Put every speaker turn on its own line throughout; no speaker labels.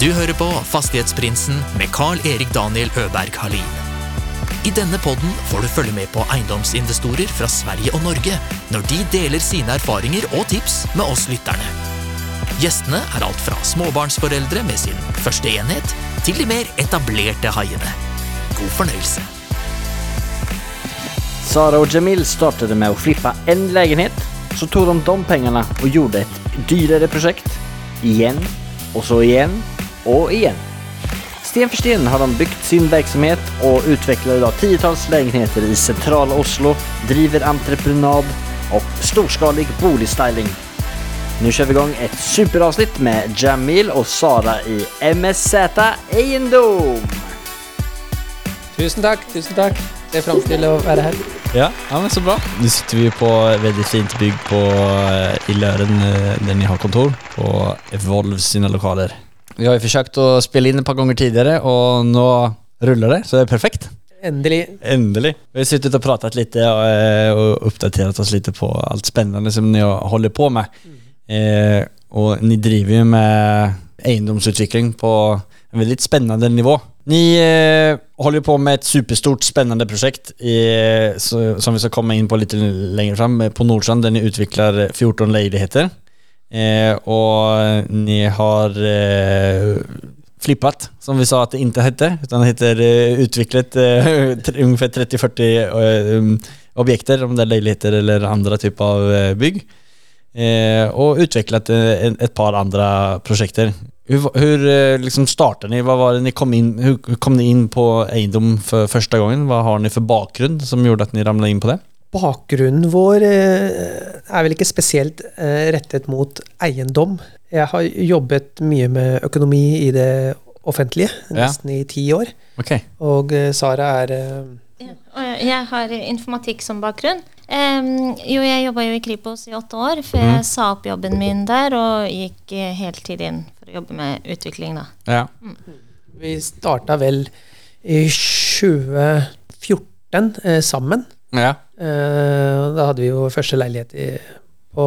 Du hører på Fastighetsprinsen med Carl-Erik Daniel Øberg Halin. I denne podden får du følge med på eiendomsinvestorer fra Sverige og Norge når de deler sine erfaringer og tips med oss lytterne. Gjestene er alt fra småbarnsforeldre med sin første enhet, til de mer etablerte haiene. God fornøyelse.
Sara och Jamil startade med att flippa en lägenhet. Så tog de de pengarna och gjorde ett dyrare projekt. Igen. Och så igen. Och igen. Sten för sten har de byggt sin verksamhet och utvecklar idag tiotals lägenheter i centrala Oslo, driver entreprenad och storskalig boligstyling. Nu kör vi igång ett superavsnitt med Jamil och Sara i MSZ Eiendom.
Tusen takk, tusen takk. Ser fram til å være her.
Ja, ja men så bra. Nå sitter vi på et veldig fint bygg på, eh, i Løren, eh, der vi har kontor, på Evolve sine lokaler. Vi har jo forsøkt å spille inn et par ganger tidligere, og nå ruller det, så det er perfekt.
Endelig.
Endelig. Vi har suttit och pratat lite eh, och uppdaterat oss lite på allt spännande som ni håller på med. Eh, Och ni driver ju med egendomsutveckling på en väldigt spännande nivå. Ni eh, håller ju på med ett superstort spännande projekt eh, så- som vi ska komma in på lite längre fram eh, på Nordsjön där ni utvecklar 14 lägenheter. Eh, och ni har eh, flippat, som vi sa att det inte hette, utan det heter eh, utvecklat eh, tre- ungefär 30-40 eh, um, objekter, om det är lägenheter eller andra typ av eh, bygg. Eh, och utvecklat eh, en, ett par andra projekter. Hur, va- hur eh, liksom startade ni? Vad var det ni kom in, hur, hur kom ni in på egendom för första gången? Vad har ni för bakgrund som gjorde att ni ramlade in på det?
Bakgrunnen vår eh, er vel ikke spesielt eh, rettet mot eiendom. Jeg har jobbet mye med økonomi i det offentlige,
Ja.
nesten i ti år.
Okej.
Og eh, Sara er eh,
Ja, og Jeg har informatikk som bakgrunn. Em, jo, jeg jobba jo i Kripos i åtte år før jeg sa opp jobben min der og gikk eh, heltid inn for å jobbe med utvikling, da.
Ja.
Vi starta vel i 2014 eh, sammen.
Ja.
Eh, da hadde vi jo første leilighet i, på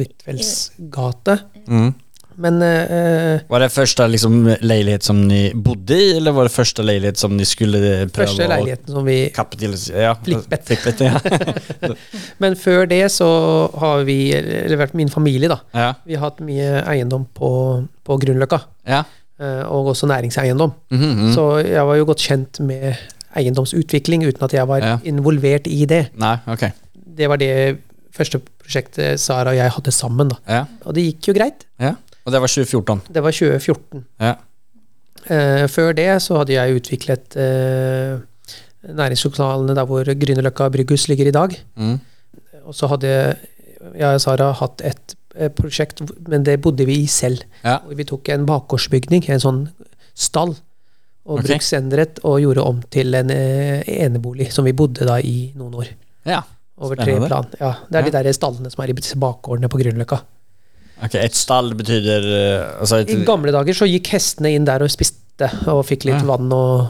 Huitfeldtsgate.
Mm.
Men eh,
Var det första liksom, lägenhet som ni bodde i eller var det första lägenhet som ni skulle eh, pröva?
første
och
leiligheten som vi
kapitalis- ja.
Flippet.
Flippet, ja.
Men før det så har vi, eller i hvert fall min familie, da
ja.
Vi har hatt mye eiendom på, på Grünerløkka.
ja.
eh, Og også næringseiendom.
Mhm, mhm.
Så jeg var jo godt kjent med eiendomsutvikling uten at jeg var
Ja.
involvert i det.
Nej, okej.
Det var det første prosjektet Sara og jeg hadde sammen. da
Ja.
Og det gikk jo greit.
ja. Och det var 2014?
Det var 2014.
Ja.
Eh, Før det så hadde jeg utviklet eh, næringslokalene der hvor Grünerløkka brygghus ligger i dag.
Mm.
Og så hadde jeg og Sara hatt et eh, prosjekt, men det bodde vi i selv.
Ja.
Hvor vi tok en bakgårdsbygning, en sånn stall, og
Ok.
bruksendret og gjorde om til en eh, enebolig, som vi bodde da i noen år.
Ja.
Over tre
Spennende.
plan. Ja, det er
Ja.
de der stallene som er i disse bakgårdene på Grünerløkka.
Okej, ett stall betyder... eh, Alltså ett,
I gamle dager så gikk hestene inn der og spiste og fikk litt
Ja.
vann og,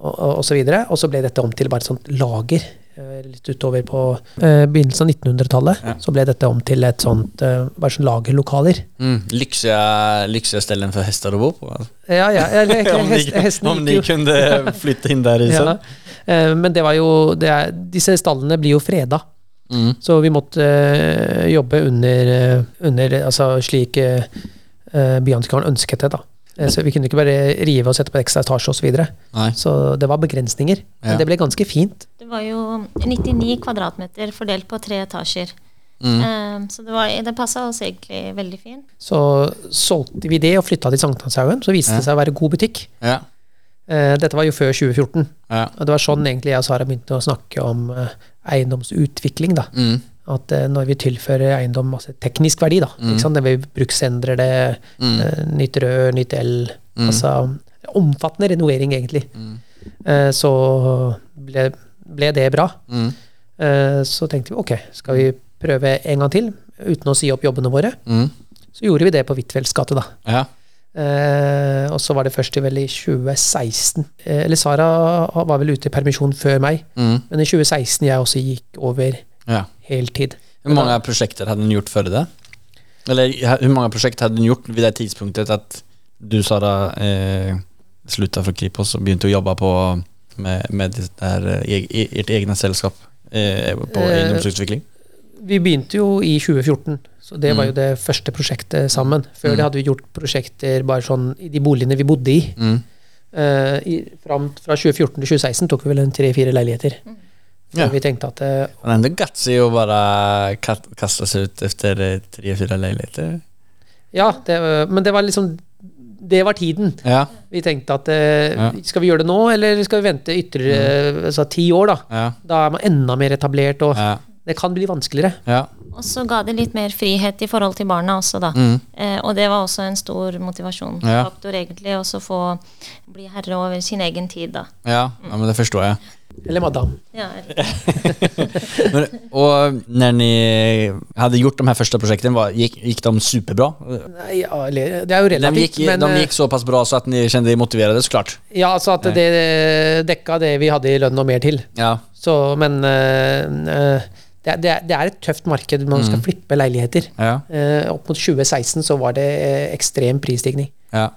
og, og, og så videre. Og så ble dette om til bare et sånt lager. eh, Litt utover på eh, begynnelsen av 1900-tallet
Ja.
så ble dette om til et sånt eh, bare sånn lagerlokaler.
mm, lyxiga, lyxiga ställen för hästar att bo på. alltså.
Ja, ja. Eller,
om ni,
hest, hestene
om
gikk
ni
jo-
kunde flytta in där i
ja.
sen.
Eh, Men det var jo det er, Disse stallene blir jo freda.
Mm.
Så vi måtte eh, jobbe under, eh, under altså slik eh, eh, byantvikaren ønsket det. da. Eh, Så vi kunne ikke bare rive og sette på en ekstra etasje osv.
Nej.
Så det var begrensninger. Men
Ja.
det ble ganske fint.
Det var jo 99 kvadratmeter fordelt på tre etasjer. Em, så det, var- det passa oss egentlig veldig fint.
Så solgte vi det og flytta til Sankthanshaugen. Så viste det seg å være god butikk.
Ja.
Eh, Dette var jo før 2014.
Ja.
Og det var sånn egentlig jeg og Sara begynte å snakke om eh, eiendomsutvikling. da.
Mm.
At eh, når vi tilfører eiendom masse teknisk verdi, da,
Mm.
ikke sant? når vi bruksendrer det, eh, nytt rød, nytt el
Mm.
Altså omfattende renovering, egentlig. Eh, Så ble, ble det bra.
Mm.
Eh, Så tenkte vi ok, skal vi prøve en gang til uten å si opp jobbene våre?
Mm.
Så gjorde vi det på Huitfeldts gate, da.
Ja.
Eh, og så var det først i vel i 2016 eh, Eller Sara var vel ute i permisjon før meg,
Mm.
men i 2016 jeg også gikk over
ja.
heltid.
Hur många projekt hade ni gjort före det? Eller hur många projekt hade ni gjort vid det tidspunktet att du Sara eh, slutade från Kripos och började jobba på, med, med det här, eh, e- e- ert egna sällskap eh, på
Eh,
eiendomsutvikling.
Vi begynte jo i 2014, så det
Mm.
var jo det første prosjektet sammen. Før det hadde vi gjort prosjekter bare sånn i de boligene vi bodde i.
Mm.
Eh, i fram, fra 2014 til 2016 tok vi vel en tre-fire leiligheter.
Ja.
Så vi tenkte at eh,
Men ändå gutsy att bara kat- kasta sig ut efter eh, tre, fyra lägenheter.
Ja, det, var- men det var liksom Det var tiden.
Ja,
Vi tenkte at eh,
Ja. Mm.
skal vi gjøre det nå, eller skal vi vente ytterligere altså, ti år? Da
ja,
Da er man enda mer etablert, og
ja,
det kan bli vanskeligere.
ja.
Og så ga det litt mer frihet i forhold til barna også, da. Eh, og det var også en stor motivasjonsfaktor, egentlig, også få bli herre over sin egen tid, da.
Ja, ja, men det förstår jag.
Eller madam.
Ja,
Men, och när ni hade gjort de här första projekten, var, gick, gick de superbra?
Nei, ja, eller, det er jo
De
relativt,
gick,
men
de
eh,
gick så pass bra så att ni kände er motiverade såklart?
Ja, altså at det eh, dekka det vi hadde i lønn og mer til.
Ja,
Så, men eh, eh, det, er- det, er- det er et tøft marked når man
Mm.
skal flippe leiligheter.
ja,
Eh, opp mot 2016 så var det eh, ekstrem prisstigning.
ja.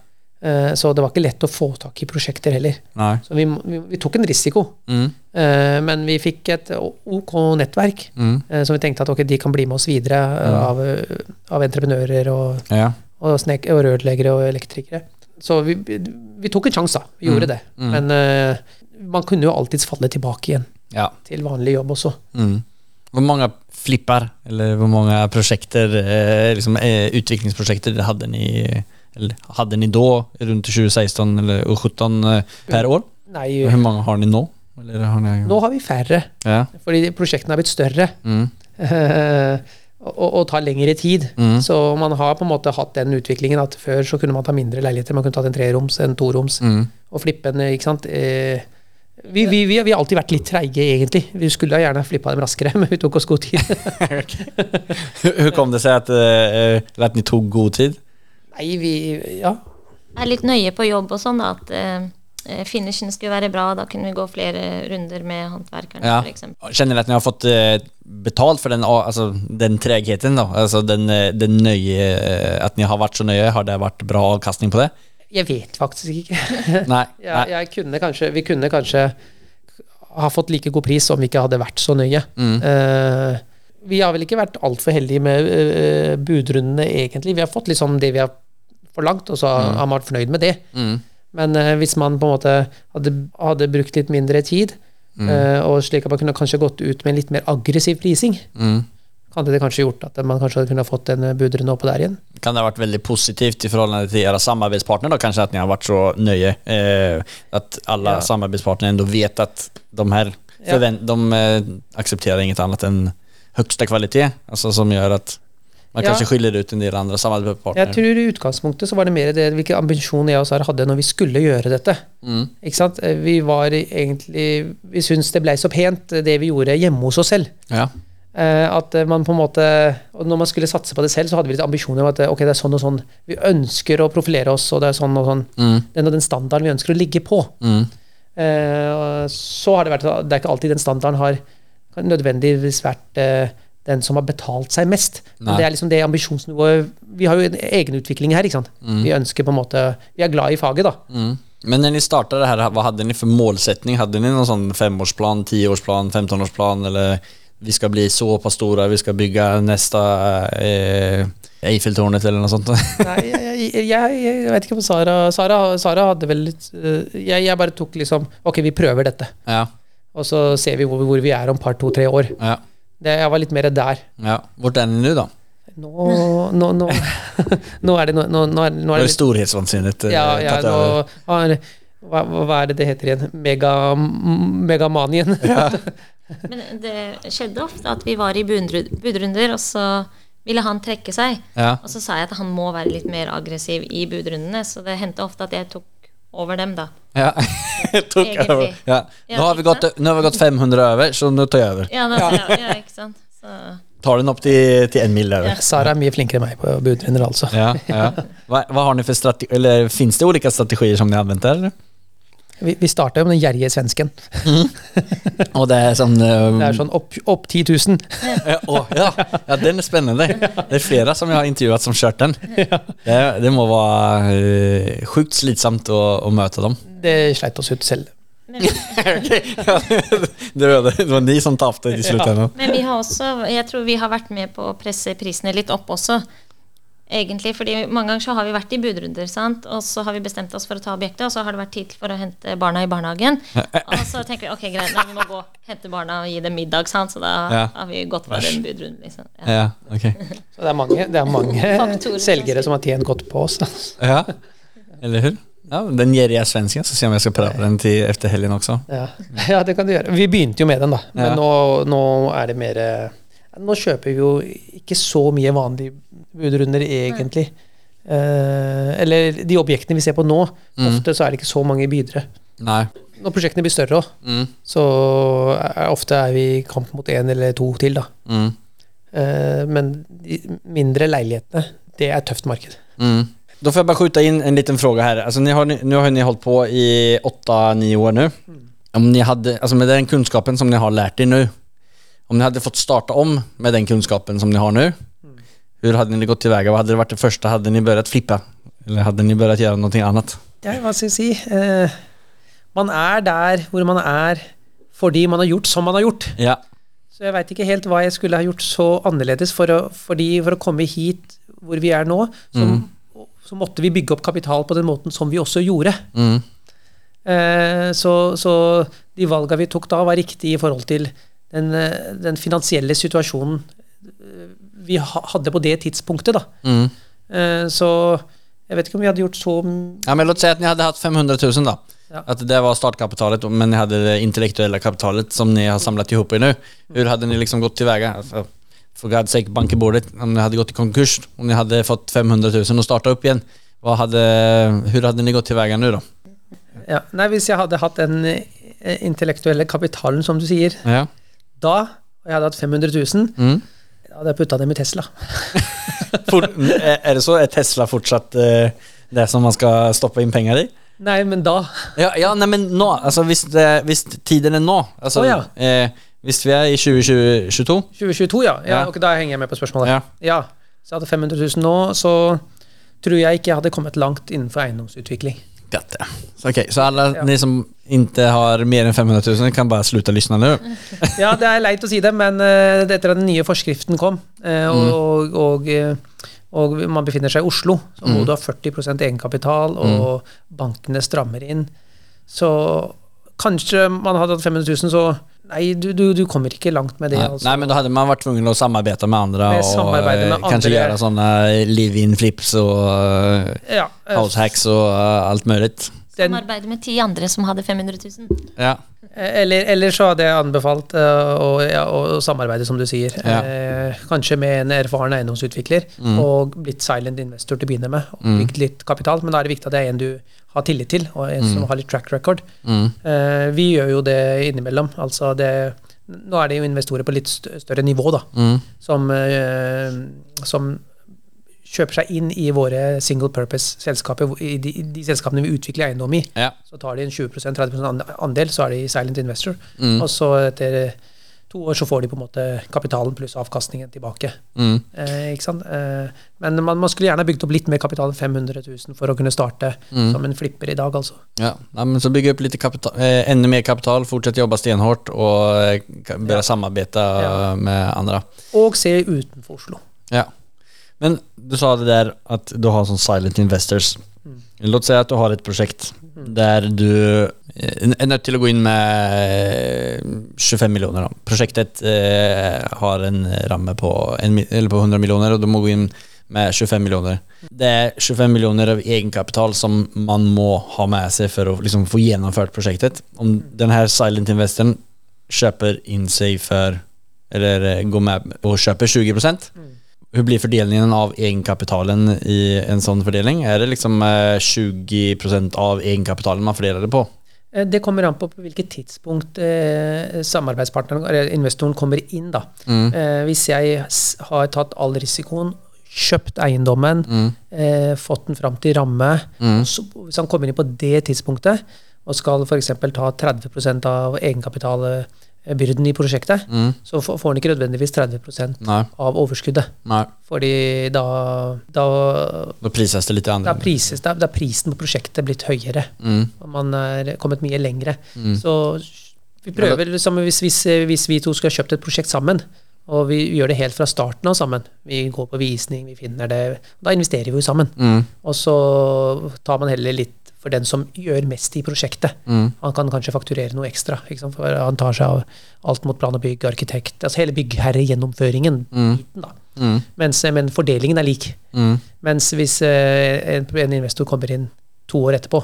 Eh, så det var ikke lett å få tak i prosjekter heller.
Nej.
Så vi, vi, vi tok en risiko.
Mm.
Eh, men vi fikk et o- OK nettverk
Mm.
eh, som vi tenkte at ok, de kan bli med oss videre eh, av, eh, av entreprenører og
Ja.
og, snek, og rørleggere og elektrikere. Så vi, vi tok en sjanse, da. Vi
Mm.
gjorde det. Men eh, man kunne jo alltids falle tilbake igjen
ja.
til vanlig jobb også.
Mm. Hvor mange flippar eller hvor mange prosjekter, eh, liksom, eh, utviklingsprosjekter hadde ni, eller, hadde ni da rundt 2016 eller 2017 eh, per år?
Nei, eh,
Og Hvor mange har ni nå? Eller har ni,
nå har vi færre,
Ja.
fordi prosjektene er blitt større.
Mm.
eh, og, og tar lengre tid.
Mm.
Så man har på en måte hatt den utviklingen at før så kunne man ta mindre leiligheter. Man kunne tatt en treroms, en toroms
Mm.
og flippe en, ikke sant. Eh, vi, vi, vi, vi har alltid vært litt treige, egentlig. Vi skulle gjerne flippa dem raskere, men vi tok oss god tid.
Hvordan kom det seg at, eh, eller at ni tok god tid?
Nei, vi Ja.
er litt nøye på jobb og sånn, da, at eh, finishen skulle være bra. Da kunne vi gå flere runder med håndverkerne,
Ja.
for eksempel.
Kjenner ni at ni har fått eh, betalt for den, ah, altså, den tregheten? Da? Altså, den, eh, den nøye, eh, at ni har vært så nøye, har det vært bra avkastning på det?
Jeg vet faktisk ikke.
Nei.
Ja,
Nei.
jeg kunne kanskje, vi kunne kanskje ha fått like god pris om vi ikke hadde vært så nøye.
Mm.
Eh, vi har vel ikke vært altfor heldige med eh, budrundene, egentlig. Vi har fått liksom det vi har forlangt, og så har man vært fornøyd med det.
Mm.
Men eh, hvis man på en måte hadde, hadde brukt litt mindre tid,
Mm.
eh, og slik at man kunne kanskje gått ut med en litt mer aggressiv prising,
Mm.
hadde det kanskje gjort at man kanskje kunne fått en eh, budrunde oppå der igjen.
Kan det ha vært veldig positivt i forhold til deres samarbeidspartner da, kanskje at ni har vært så nøye eh, at alle
Ja.
samarbeidspartnere ändå vet at de her
Ja.
forvent, de eh, aksepterer inget annet enn høyeste kvalitet, altså som gjør at man
Ja.
kanskje skiller ut en del andre
Jeg
samarbeidspartnere.
tror i utgangspunktet så var det mer det hvilke ambisjoner jeg og Sara hadde når vi skulle gjøre dette.
Mm.
Ikke sant? Eh, Vi var egentlig Vi syntes det blei så pent, eh, det vi gjorde hjemme hos oss selv.
Ja.
Eh, At eh, man på en måte Og når man skulle satse på det selv, så hadde vi litt ambisjoner om at eh, ok, det er sånn og sånn Vi ønsker å profilere oss, og det er sånn og sånn
Mm.
Den og den standarden vi ønsker å ligge på.
Mm.
Eh, og Så har det vært Det er ikke alltid den standarden har nødvendigvis vært eh, den som har betalt seg mest. Men
Nei.
det er liksom det ambisjonsnivået Vi har jo en egenutvikling her, ikke sant. Vi ønsker på en måte Vi er glad i faget, da.
Mm. Men når ni startet det her, hva hadde ni for målsetning? Hadde ni noen sånn femårsplan, tioårsplan, femtonårsplan, eller vi skal bli så pass store, vi skal bygge neste eh, Eiffeltårnet eller noe sånt?
Nei, jeg, jeg, jeg, jeg vet ikke om Sara Sara, Sara hadde vel litt øh, jeg, jeg bare tok liksom Ok, vi prøver dette.
ja.
Og så ser vi hvor, hvor vi er om par, to, tre år.
Ja.
Det, jeg var litt mer der.
Ja, Hvor er den nå, da?
Nå Nå, nå, nå er det nå, nå, nå er, nå
Nå
er
er
det
det storhetsvansinnet eh,
Ja, ja
tatt
nå
over.
har, hva, hva er det det heter igjen? Mega, megamanien.
Men det skjedde ofte at vi var i budru- budrunder, og så ville han trekke seg.
Ja.
Og så sa jeg at han må være litt mer aggressiv i budrundene, så det hendte ofte at jeg tok over dem, da.
Ja. Jeg tok
Egentlig.
over. Ja.
Ja,
Nå, har vi
ikke
gått, nå har vi gått 500 over, så nå tar jeg over.
Ja, da, ja. ja ikke sant? Så,
Tar den opp til, til en mil
Ja.
over.
Sara er mye flinkere enn meg på budrunder, altså.
Ja, ja. Hva, hva har ni for strategi, eller Fins det ulike strategier som ni har anvendt der? eller?
Vi, vi starta jo med den gjerrige svensken.
Og det er sånn eh,
Det er sånn opp, opp 10 000.
Ja, Eh, å, ja. ja, den er spennende. Det er flere som jeg har intervjuet som kjørt den. Det, det må være eh, sjukt slitsomt å, å møte dem.
Det sleit oss ut selv.
Ja, det, var, det var ni som tapte i slutten.
Men vi har også, jeg tror vi har vært med på å presse prisene litt opp også. Egentlig, fordi Mange ganger så har vi vært i budrunder, sant? og så har vi bestemt oss for å ta objektet, og så har det vært tid for å hente barna i barnehagen. Og så tenker vi ok, greit, nei, vi må gå hente barna og gi dem middag, sant? så da
Ja.
har vi gått for en budrunde. Liksom. Ja.
Ja, ok.
Så det er mange, det er
Faktorer
mange
som
selgere
spiller.
som har tjent godt på oss. Altså.
Ja, eller hur? Ja, den gjerrige svensken, så ser jeg om jeg skal prøve den til efter helgen også.
Ja. ja, det kan du gjøre. Vi begynte jo med den, da. Men
Ja.
nå, nå er det mer eh, Nå kjøper vi jo ikke så mye vanlige budrunder, egentlig. Eh, eller de objektene vi ser på nå, ofte så er det ikke så mange bydere.
Nei.
Når prosjektene blir større òg,
Mm,
så er, ofte er vi i kamp mot én eller to til, da.
mm,
Eh, men de mindre leilighetene, det er tøft marked.
mm. Då får jag bara skjuta in en liten fråga här. Alltså, ni har, nu har ni hållit på i 8-9 år nu. Om ni hade, alltså, med den kunskapen som ni har lärt er nu, om ni hade fått starta om med den kunskapen som ni har nu, hur hade ni gått tillväga? Vad hade det varit det första? Hade ni börjat flippa? Eller hade ni börjat göra någonting annat?
Ja, hva skal jeg si? Eh, man er der hvor man er fordi man har gjort som man har gjort.
Ja.
Så jeg veit ikke helt hva jeg skulle ha gjort så annerledes. For å, fordi for å komme hit hvor vi er nå, så,
Mm.
så måtte vi bygge opp kapital på den måten som vi også gjorde.
Mm,
Eh, så, så de valga vi tok da, var riktige i forhold til den, eh, den finansielle situasjonen eh, vi ha- hadde på det tidspunktet, da.
mm.
Eh, så jeg vet ikke om vi hadde gjort så m-
Ja, men låt säga att ni hade haft 500 000 då.
Ja.
Att det var startkapitalet, men ni hade det intellektuella kapitalet som ni har samlat ihop er nu. Hur hade ni liksom gått tillväga? Alltså, for God's sake, bankebordet, om ni hade gått i konkurs, om ni hade fått 500 000 och starta upp igen, vad hade, hur hade ni gått tillväga nu då?
ja. Nei, hvis jeg hadde hatt den eh, intellektuelle kapitalen, som du sier,
Ja.
da, og jeg hadde hatt 500 000,
Mm.
da hadde jeg putta dem i Tesla.
Fort, är det så? Är Tesla fortsatt eh, det som man ska stoppa in pengar i?
Nei, men da
Ja, ja nei, men nå, altså hvis, det, hvis tiden er nå, altså
Å, ja.
eh, hvis vi er i 2022,
2022, ja. ja,
Ja.
Ok, da henger jeg med på spørsmålet.
Ja.
Ja. Så jeg hadde 500 000 nå, så tror jeg ikke jeg hadde kommet langt innenfor eiendomsutvikling.
Gött det. Så, okej, så alla
Ja.
ni som inte har mer än 500 000 kan bara sluta lyssna nu.
Ja, det er leit å si det, men eh, etter at den nye forskriften kom, eh,
Mm.
og, og, eh, og man befinner seg i Oslo, så
Mm.
må du ha 40 egenkapital, og bankene strammer inn, så kanskje man hadde hatt 500 000, så Nei, du, du, du kommer ikke langt med det.
Nej,
altså.
nej, men då hade man varit tvungen att samarbeta med andra
Med
och
samarbete med
eh,
andra.
kanske göra sådana live-in flips och eh,
Ja, eh,
house hacks og eh, alt mulig.
den-
Samarbeide med ti andre som hadde 500 000.
Ja.
Eller, eller så hadde jeg anbefalt eh, å, ja, å samarbeide, som du sier.
Ja. Mm.
Eh, kanskje med en erfaren eiendomsutvikler, og blitt silent investor til å begynne med. Og bygd litt kapital, men da er det viktig at det er en du har tillit til, og en som har litt track record.
Mm.
Eh, vi gjør jo det innimellom. Altså det, nå er det jo investorer på litt stø- større nivå, da,
Mm.
som, eh, som kjøper seg inn i våre single purpose-selskaper, hvor- i de, i de selskapene vi utvikler eiendom i.
Ja.
Så tar de en 20-30 and- andel, så er de silent investor.
Mm.
Og så etter eh, to år så får de på en måte kapitalen pluss avkastningen tilbake.
Mm.
Eh, ikke sant? Eh, men man, man skulle gjerne bygd opp litt mer kapital enn 500 000 for å kunne starte som en flipper i dag, altså.
Ja. Nei, men så bygge opp litt kapital, eh, enda mer kapital, fortsett jobbe stenhardt og eh, ka- begynne å samarbeide
Ja.
eh, med andre.
Og se utenfor Oslo.
Ja. Men du sa det der at du har sånn silent investors. Låt oss si at du har et prosjekt der du eh, er nødt til å gå inn med eh, 25 millioner. Da. Prosjektet eh, har en ramme på, en, mi- eller på 100 millioner, og du må gå inn med 25 millioner. Det er 25 millioner av egenkapital som man må ha med seg for å liksom, få gjennomført prosjektet. Om denne silent investoren kjøper inn seg for Eller eh, går med og kjøper 20 hur blir fördelningen av egenkapitalen i en sånn fordeling? Er det liksom eh, 20 av egenkapitalen man fordeler det på?
Eh, Det kommer an på på hvilket tidspunkt eh, samarbeidspartneren eller investoren kommer inn. da.
Mm.
Eh, hvis jeg s- har tatt all risikoen, kjøpt
Mm.
eiendommen, eh, fått den fram til ramme så, Hvis han kommer inn på det tidspunktet, og skal f.eks. ta 30 av egenkapitalbyrden i prosjektet,
Mm.
så får får en ikke nødvendigvis 30
Nei.
av overskuddet.
Nei.
Fordi da, da,
Da prises det litt
da,
annerledes.
prises, da, da er prisen på prosjektet blitt høyere.
Mm.
Og man er kommet mye lengre.
Mm.
Så vi prøver liksom, hvis, hvis, hvis vi to skal ha kjøpt et prosjekt sammen, og vi gjør det helt fra starten av sammen. Vi går på visning, vi finner det. Da investerer vi jo sammen.
Mm.
Og så tar man heller litt for den som gjør mest i prosjektet.
Mm.
Han kan kanskje fakturere noe ekstra. Ikke sant? For han tar seg av alt mot plan og bygg, arkitekt, altså hele byggherregjennomføringen. biten da.
Mm.
Mens, eh, men fordelingen er lik.
Mm.
Mens hvis eh, en, en investor kommer inn to år etterpå,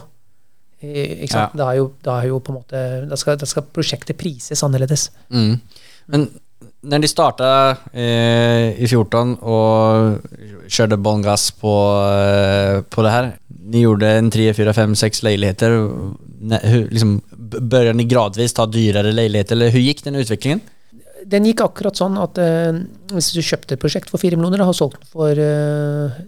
eh, ikke sant? Da, er jo, da er jo på en måte da skal, da skal prosjektet prises annerledes.
Mm. Men når de starta eh, i 14 og kjørte bånn gass på, eh, på det her Ni gjorde en tre, fire, fem, seks leiligheter. Ne, hur, liksom, Begynte ni gradvis ta dyrere leiligheter, eller hvordan gikk den utviklingen?
Den gikk akkurat sånn at eh, hvis du kjøpte et prosjekt for fire millioner da, og solgte den for, eh,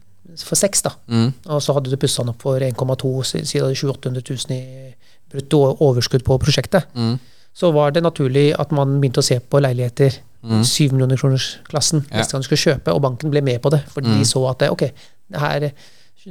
for seks, da,
Mm.
Og så hadde du pussa den opp for 1,2, si si du hadde 700 000 i brutto overskudd på prosjektet.
Mm.
Så var det naturlig at man begynte å se på leiligheter
Mm.
7 millioner kroners-klassen
Ja.
neste gang du skulle kjøpe, og banken ble med på det. Fordi
Mm.
de så at det, ok, det her de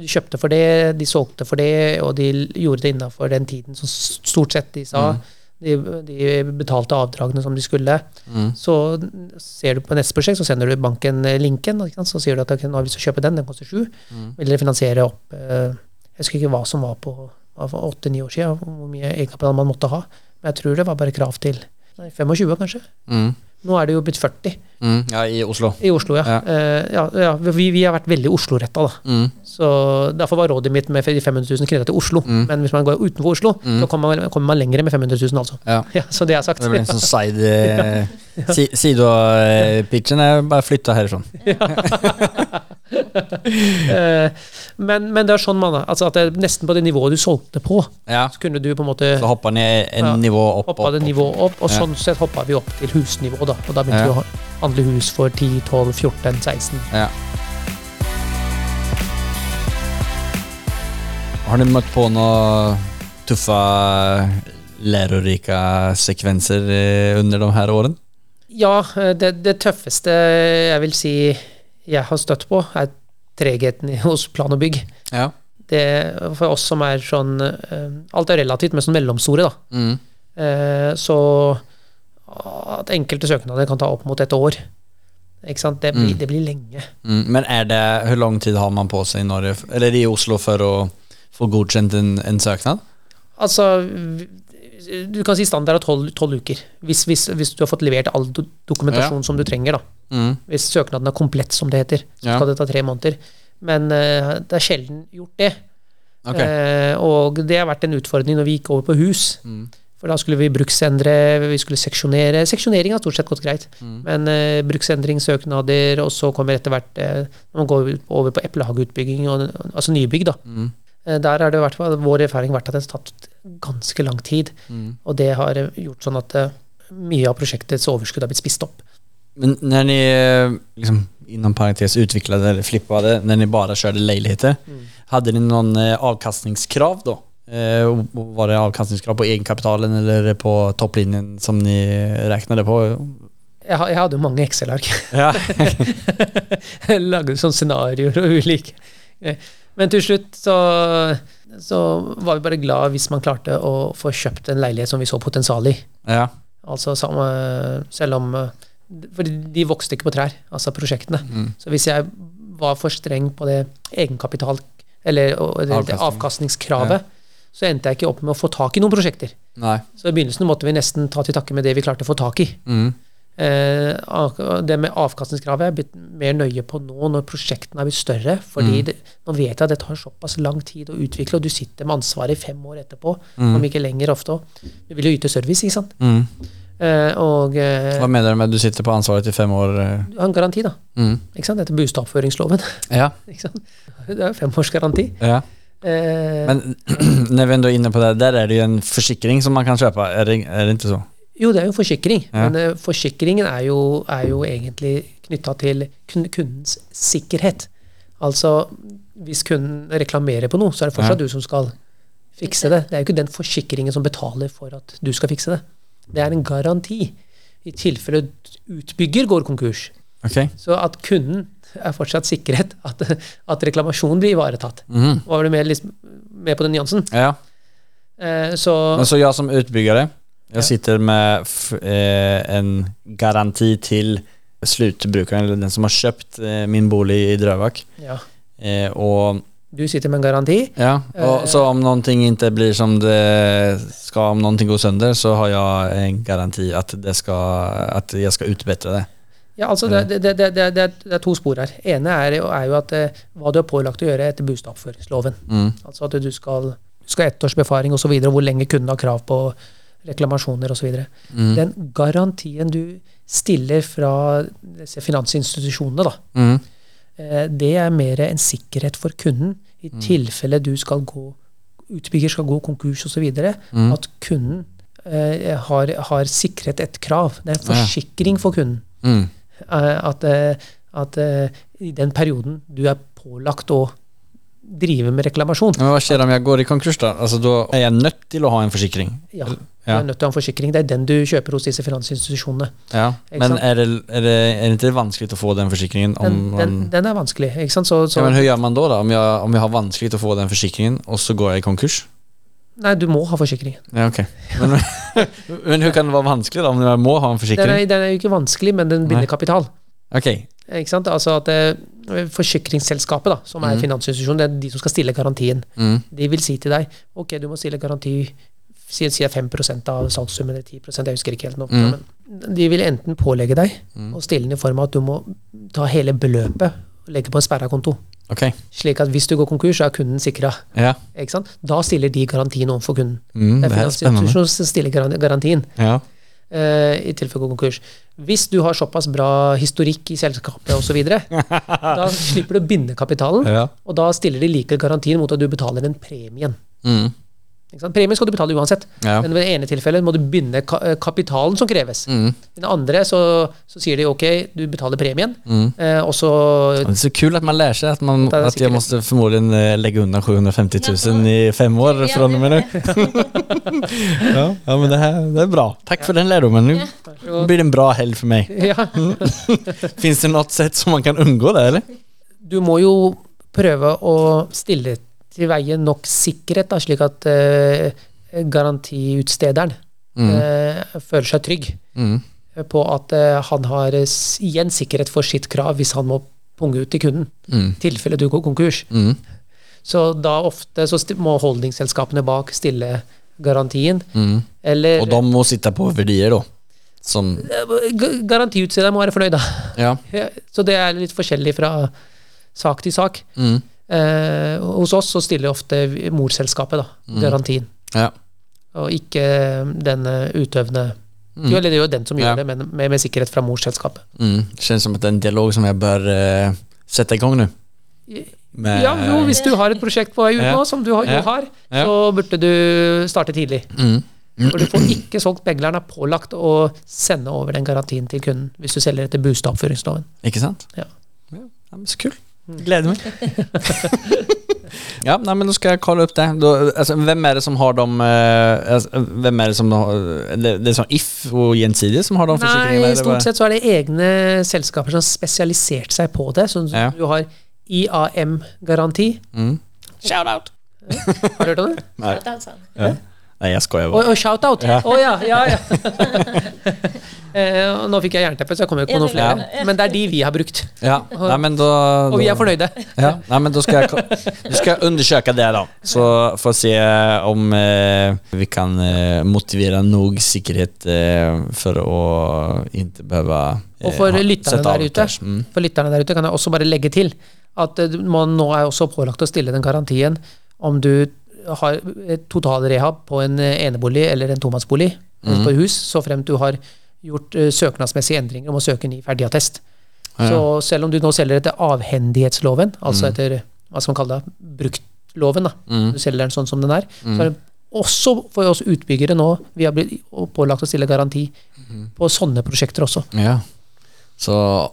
kjøpte for det, de solgte for det, og de l- gjorde det innafor den tiden som s- stort sett de sa. De, de betalte avdragene som de skulle.
Mm.
Så ser du på neste prosjekt, så sender du banken eh, linken. ikke sant? Så sier du at ok, nå har vi lyst til å kjøpe den, den koster sju.
Mm.
Vil dere finansiere opp eh, Jeg husker ikke hva som var på hva for åtte-ni år siden, hvor mye egenkapital man måtte ha. Men jeg tror det var bare krav til nei, 25, kanskje.
Mm.
Nå er det jo blitt 40
Mm. Ja, i Oslo.
i Oslo, ja.
Ja.
Eh, ja, ja vi, vi har vært veldig Oslo-retta, da.
Mm.
Så Derfor var rådet mitt med 500 000 knytta til Oslo.
Mm.
Men hvis man går utenfor Oslo,
Mm.
så kommer man, kommer man lengre med 500 000, altså.
Ja.
Ja, så det er sagt.
Det blir en sånn side eh, si, Sidepitchen er bare flytta herifrån.
Eh, men, men det er sånn man er. Altså at det er nesten på det nivået du solgte på,
Ja.
så kunne du på en måte
Så hoppa ni en
Ja.
nivå opp.
hoppa det
opp, opp.
nivået opp, og
Ja.
sånn sett hoppa vi opp til husnivå, da. Og da begynte
Ja.
vi å handle hus for 10, 12, 14, 16.
Ja. Har du møtt på noen tuffe, lærerike sekvenser eh, under de her årene?
Ja, eh, det, det tøffeste jeg vil si jeg har støtt på, er tregheten i- hos plan og bygg.
Ja.
Det, for oss som er sånn eh, Alt er relativt, men sånn mellomstore, da.
Mm.
Eh, Så at enkelte søknader kan ta opp mot et år. Ikke sant? Det blir,
Mm.
det blir lenge.
Mm. Men er det, hvor lang tid har man på seg i Norge, f- eller i Oslo for å få godkjent en, en søknad?
Altså v- Du kan si standard er tolv tolv uker. Hvis, hvis, hvis du har fått levert all do- dokumentasjon som du trenger. da
Mm.
Hvis søknaden er komplett, som det heter, så
Ja.
skal det ta tre måneder. Men eh, det er sjelden gjort det.
Ok.
Eh, og det har vært en utfordring når vi gikk over på hus.
Mm.
For da skulle vi bruksendre, vi skulle seksjonere. Seksjonering har stort sett gått greit.
Mm.
Men eh, bruksendringssøknader, og så kommer etter hvert eh, Når man går ut- over på eplehageutbygging, og, altså nybygg, da.
Mm.
Eh, Der har det i hvert fall vår erfaring vært at det har tatt ganske lang tid.
Mm.
Og det har eh, gjort sånn at eh, mye av prosjektets overskudd har blitt spist opp.
Men när ni eh, liksom, inom parentes utvecklade eller flippade, när ni bara körde leiligheter, hade ni någon eh, avkastningskrav då? Eh, och- och var det avkastningskrav på egenkapitalen eller på topplinjen som ni räknade på?
Jeg, ha- jeg hadde jo mange Excel-ark.
Ja.
Jeg Lagde sånne scenarioer og ulike. Eh, Men til slutt så, så var vi bare glad hvis man klarte å få kjøpt en leilighet som vi så potensial i.
ja.
Altså samme, selv om For de vokste ikke på trær, altså prosjektene. Så hvis jeg var for streng på det egenkapital... Eller og- og det, det
Avkastning.
avkastningskravet, så endte jeg ikke opp med å få tak i noen prosjekter.
Nej.
Så i begynnelsen måtte vi nesten ta til takke med det vi klarte å få tak i.
Mm.
Eh, ak- det med avkastningskravet er jeg blitt mer nøye på nå når prosjektene er blitt større. fordi
Mm.
det, nå vet jeg at det tar såpass lang tid å utvikle, og du sitter med ansvaret i fem år etterpå. Om ikke lenger ofte også. Du vil jo yte service, ikke sant.
Mm.
Eh, og eh,
Vad menar du med att du sitter på ansvaret i fem år? eh?
du har en garanti, da.
Mm.
Ikke sant? Etter bostadoppføringsloven.
Ja.
Ikke sant? Det er jo femårsgaranti.
ja.
Eh,
Men när vi ändå är inne på det, där är det ju en försikring som man kan köpa, är det, är det inte så?
jo, det er jo forsikring,
Ja.
men eh, forsikringen er jo, er jo egentlig knytta til kun- kundens sikkerhet. Altså, hvis kunden reklamerer på noe, så er det fortsatt du som skal fikse det. Det er jo ikke den forsikringen som betaler for at du skal fikse det. Det er en garanti i tilfelle utbygger går konkurs.
Ok.
Så at kunden er fortsatt sikret at, at reklamasjonen blir ivaretatt.
Mhm.
Var du med, liksom, med på den nyansen?
Ja.
Eh, så
Men så jag som utbyggare, jag sitter med f- eh, en garanti till slutbrukaren, eller den som har köpt eh, min bolig i Drövak.
ja,
Eh, och,
du sitter med en garanti.
ja,
Eh.
och, så om någonting inte blir som det ska, om någonting går sönder så har jag en garanti att, det ska, att jag ska utbättra det.
Ja, altså det, det, det, det, det, er- det er to spor her. ene er, jo- er jo at eh, hva du er pålagt å gjøre etter bostadoppføringsloven.
Mm.
Altså at du skal, du skal ha ett års befaring osv., og så videre, hvor lenge kunden har krav på reklamasjoner osv. videre.
Mm.
Den garantien du stiller fra disse finansinstitusjonene, da,
Mm.
eh, det er mer en sikkerhet for kunden i
Mm.
tilfelle du skal gå utbygger skal gå konkurs osv. videre,
Mm.
At kunden eh, har, har sikret et krav. Det er en forsikring for kunden.
Mm.
Eh, at, eh, at eh, i den perioden du er pålagt å drive med reklamasjon,
Men vad sker om jag går i konkurs då? Alltså då är jag nött till att ha en försäkring.
ja, du
Ja.
er nødt til å ha en forsikring. Det er den du kjøper hos disse finansinstitusjonene.
Ja. Men
Exakt.
är det, är, det, är det inte vanskligt att få den försäkringen? Om
Den, den,
man...
den er vanskelig. ikke sant? Så,
Ja,
så,
men hur gör man då, då? Om, jag, om jag har vanskligt att få den försäkringen och så går jag i konkurs?
nei, du må ha forsikring.
Ja, okej. men, men hur kan det vara vanskligt då, om jag må ha en
Den
försäkring?
er, den er jo ikke vanskelig, men den binder
Nei.
kapital.
Okej,
Eh, Ikke sant? Altså at eh, Forsikringsselskapet, da, som er finansinstitusjonen, det er de som skal stille garantien.
Mm.
De vil si til deg ok, du må stille garanti si, si det er 5 av salgssummen eller 10 jeg husker ikke helt nå. Men de vil enten pålegge deg å stille den i form av at du må ta hele beløpet og legge på en sperra konto.
okej.
Slik at hvis du går konkurs, så er kunden sikra.
Ja.
Ikke sant? Da stiller de garantien overfor kunden.
Mm,
det
det
er
här är spännande.
finansinstitusjonen som stiller garan- garantien
Ja.
eh, i tilfelle går konkurs. Hvis du har såpass bra historikk i selskapet osv., da slipper du å binde kapitalen,
Ja.
og da stiller de like garantien mot at du betaler den premien.
Mm.
Ikke sant? Premien skal du betale uansett,
Ja.
men ved det ene tilfellet må du binde ka eh, kapitalen som kreves.
Mm.
I det andre så, så sier de ok, du betaler premien,
Mm. Sånn.
eh, og så
Det är så kul att man lär sig att, man,
Det är
att jag
säkert-
måste förmodligen eh, lägga undan 750 000 i fem år från och med nu. Ja, ja men det här det är bra. Tack för den lärdomen. Nu blir det en bra helg för mig.
ja,
Finns det något sätt som man kan undgå det eller?
Du må jo prøve å stille til veie nok sikkerhet, da, slik at eh, garantiutstederen eh, føler seg trygg.
Mm.
på at eh, han har eh, s- igjen sikkerhet for sitt krav hvis han må punge ut til kunden.
Mm.
I tilfelle du går konkurs.
Mm.
Så da ofte så sti- må holdingselskapene bak stille garantien.
Mm.
Eller eh,
Och de må sitta på verdier då. Som,
G- Garantiutstederen må være fornøyd, da.
ja.
Ja, Så det er litt forskjellig fra sak til sak.
Mm.
Eh, hos oss så stiller ofte vi- morselskapet da,
Mm.
garantien,
Ja.
og ikke den eh, utøvende Jo, eller det er jo den som gjør
Mm. Ja.
det, men med, med sikkerhet fra morselskapet.
Mm. Känns som att det är en dialog som jag bör eh, sätta igång nu. Med,
Ja, jo, hvis du har et prosjekt på vei ut
Eh, Ja.
nå, som du har, jo
Ja.
har,
Ja.
så burde du starte tidlig.
Mm.
For du får ikke solgt megleren er pålagt å sende over den garantien til kunden hvis du selger etter bostadoppføringsloven.
Ikke sant?
Ja.
ja. ja, men Så kul. Gleder meg. ja, nei, men da skal jeg kalle opp det. Da, altså, hvem er det som har de eh, altså, Hvem er det som har, det, det er sånn If og Gjensidige som har de forsikringene?
Nei,
eller hva?
stort sett så er det egne selskaper som har spesialisert seg på det. Sånn som
Ja.
du har IAM-garanti.
Mm.
Har du hørt om det?
altså.
Nei, jeg skojer
Og,
bare.
og shout-out! Å
Ja.
ja. ja, ja, Eh, og nå fikk jeg jernteppe, så jeg kommer jo ikke på noen
Ja,
flere.
det- ja.
Men det er de vi har brukt.
Ja, nei, men da,
Og vi er
da,
fornøyde.
ja, nei, men da skal jeg ka- da skal jeg undersøke det, da. Så får jeg se om eh, vi kan eh, motivere nok sikkerhet eh, for å ikke behøve eh,
Og for
ha-
lytterne
sette
der
av
ute.
cash. Mm.
For lytterne der ute kan jeg også bare legge til at eh, man nå er også pålagt å stille den garantien om du har eh, total rehab på en eh, enebolig eller en tomannsbolig,
Mhm.
altså på et hus, så fremt du har gjort eh, søknadsmessige endringer om å søke ny ferdigattest. Så selv om du nå selger etter avhendighetsloven,
Mm.
altså etter hva skal man kalle det, bruktloven, da, du selger den sånn som den er,
Mm.
så er det også for oss utbyggere nå, vi har blitt
Mhm.
pålagt å stille garanti på sånne prosjekter også.
Ja. Så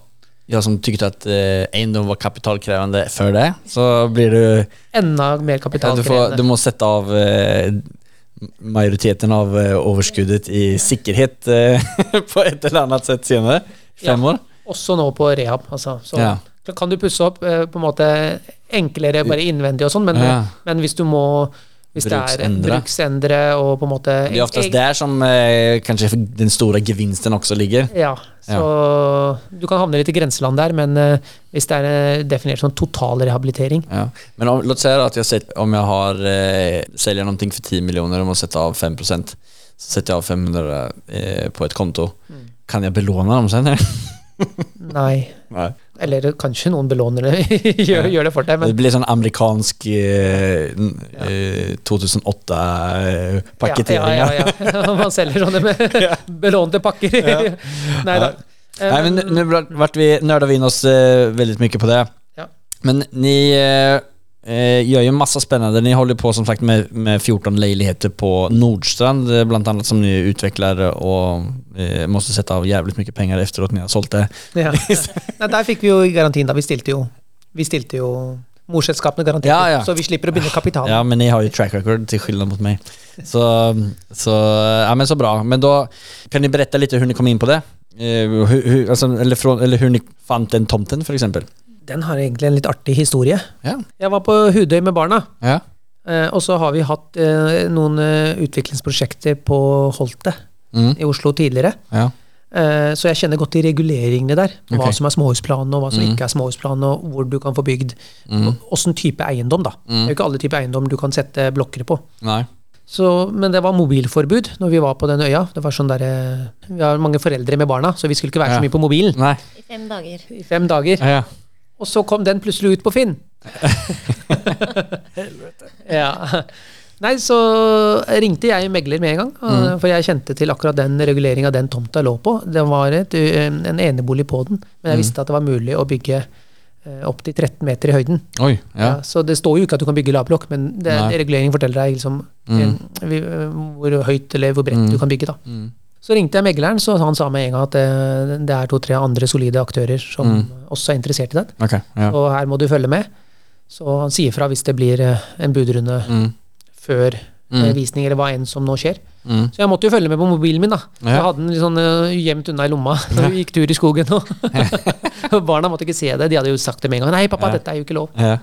jag som tyckte att eh, egendom var kapitalkrävande för det, så blir du...
Enda mer
Ja, du, får,
kapitalkrevende.
du måste sätta av eh, majoriteten av eh, överskuddet i säkerhet eh, på ett eller annat sätt senare. Fem år.
Også nå på rehab. Altså. Så
Ja.
kan du pusse opp eh, på en måte enklere bare innvendig og sånn, men,
Ja.
men hvis du må hvis det er
Bruksendre.
bruksendre og på en måte
Det är oftast
eg-
där som eh, kanske den stora gevinsten också ligger.
Ja, så du kan havne litt i grenseland der, men eh, hvis det er eh, definert som total rehabilitering
Ja. Men om, låt säga då att jag sälj- om jag har, eh, säljer någonting för 10 miljoner och måste sätta av 5 procent. Så sätter jag av 500 eh, på ett konto.
Mm.
Kan jag belåna dem sen?
Nei.
Nej.
Eller kanskje noen belånere gjør, gjør det for deg,
Det
men
blir sån amerikansk eh, n- eh, 2008 eh, paketering.
Ja, ja, ja, ja. Man selger sånne med belånte pakker. Eh, Nei da.
Nej, men nu,
Um,
nu vart- vart vi, nördade vi in oss eh, väldigt mycket på det.
Ja.
Men ni eh, eh, gör ju en massa spännande. Ni håller på som sagt med, med 14 löjligheter på Nordstrand, eh, bland annat som ni utvecklar och eh, måste sätta av jävligt mycket pengar efteråt ni har sålt det.
Ja. Nei, der fikk vi jo i garantien, da. Vi stilte jo, vi stilte jo morselskapene garantert,
Ja, ja.
så vi slipper å binde kapitalen.
Ja, men ni har ju track record till skillnad mot mig. Så, så, ja, men så bra. Men då kan ni berätta lite hur ni kom in på det? Eh, hur, hur, alltså, eller, från, eller hur ni fann den tomten för exempel?
Den har egentlig en litt artig historie.
Ja.
Jeg var på Hudøy med barna,
ja.
eh, og så har vi hatt eh, noen eh, utviklingsprosjekter på Holte
Mm.
i Oslo tidligere.
ja.
Eh, Så jeg kjenner godt til reguleringene der. Hva
Ok.
som er småhusplan, og hva som
Mm.
ikke er småhusplan, og hvor du kan få bygd.
Mm.
Åssen type eiendom, da. Det er jo ikke alle typer eiendom du kan sette blokker på.
Nej.
Så, men det var mobilforbud når vi var på den øya. Det var sånn der, eh, Vi har mange foreldre med barna, så vi skulle ikke være
Ja.
så mye på mobilen
Nej.
I fem dager.
i fem dager.
Ja.
Og så kom den plutselig ut på Finn. ja. Nei, så ringte jeg megler med en gang, eh,
Mm.
for jeg kjente til akkurat den reguleringa den tomta lå på. Det var et, eh, en enebolig på den, men
Mm.
jeg visste at det var mulig å bygge eh, opp til 13 meter i høyden.
Oj, ja.
Ja, så det står jo ikke at du kan bygge lavblokk, men det,
Nei. Mm.
det reguleringen forteller deg liksom, eh, vi- eh, hvor høyt eller hvor bredt du kan bygge. da. Så ringte jeg megleren, så han sa med en gang at eh, det er to-tre andre solide aktører som også er interessert i den.
Okej, Mm. ja.
Og her må du følge med. Så han sier fra hvis det blir eh, en budrunde
Mm.
før
Mm.
eh, visning, eller hva enn som nå skjer.
Mm.
Så jeg måtte jo følge med på mobilen min, da.
Ja.
Jeg hadde den litt sånn eh, gjemt unna i lomma når vi gikk tur i skogen. Og og barna måtte ikke se det. De hadde jo sagt det med en gang. Nei, pappa,
Ja.
dette er jo ikke lov.
Ja.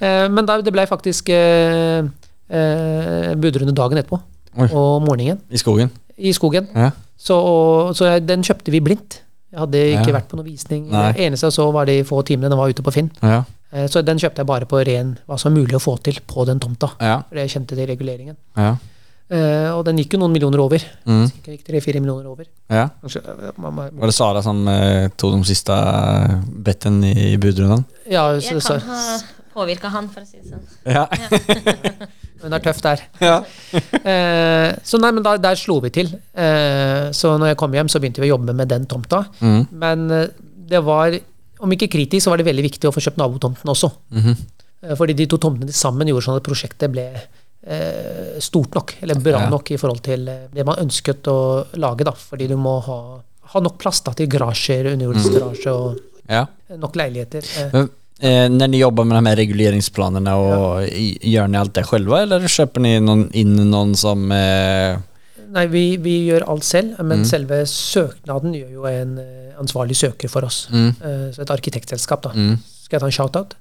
Eh, Men da, det ble faktisk eh, eh, budrunde dagen etterpå.
Oi.
Og morgenen.
I skogen?
I skogen.
Ja.
Så, og, så jeg, den kjøpte vi blindt. Jeg hadde ikke
Ja.
vært på noen visning.
Nei.
Det eneste jeg så, var de få timene den var ute på Finn.
Ja.
Eh, Så den kjøpte jeg bare på ren hva som er mulig å få til på den tomta.
Ja.
For jeg kjente til reguleringen.
Ja.
Eh, Og den gikk jo noen millioner over.
Mm.
Den gikk Tre-fire millioner over.
ja.
Kanskje, eh, man- man-
Var det Sara som eh, tog de sista eh, betten i, i budrundan?
Ja, så,
Jeg
så,
kan ha påvirka han, for å si det sånn.
Ja.
hun er tøff der.
Ja.
Eh, Så nei, men da, der slo vi til. Eh, Så når jeg kom hjem, så begynte vi å jobbe med den tomta.
Mm.
Men eh, det var, om ikke kritisk, så var det veldig viktig å få kjøpt nabotomten også.
Mhm.
Eh, Fordi de to tomtene sammen gjorde sånn at prosjektet ble eh, stort nok, eller bra
Ja.
nok i forhold til eh, det man ønsket å lage. da, Fordi du må ha, ha nok plass da, til garasjer,
Mhm.
underjordsgarasje og
ja.
nok leiligheter. Eh,
Men, eh, när ni jobbar med de här regleringsplanerna, och i, gör ni allt det själva eller köper ni någon, in någon som... Eh,
Nei, vi, vi gjør alt selv, men
Mhm.
selve søknaden gjør jo en eh, ansvarlig søker for oss.
Mm,
Eh, Så et arkitektselskap,
Mhm.
da. Skal jeg ta en shout-out?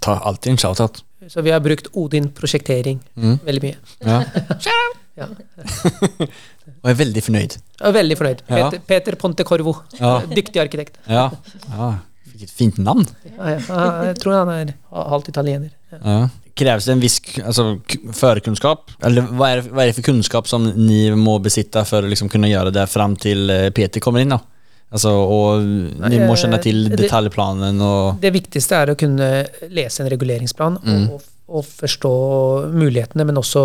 tar alltid en shoutout.
Så vi har brukt Odin prosjektering veldig mye.
Mm, Ja.
Ja.
Och är väldigt förnöjd.
Jeg er veldig fornøyd.
Ja.
Peter, Peter Pontecorvo,
Ja.
dyktig arkitekt.
Ja. ja. Vilket fint namn.
Ja, ja. Ja, Jeg tror han er halvt italiener. Ja.
Ja. Krävs det en viss k- alltså, k- förkunskap? Eller vad är, det- vad är det för kunskap som ni må besitta för att liksom kunna göra det fram till eh, Peter kommer in då? Alltså, och ni må
eh,
känna till
det-
detaljplanen och...
Det viktigste er å kunne lese en reguleringsplan
Mm.
og, og forstå mulighetene, men også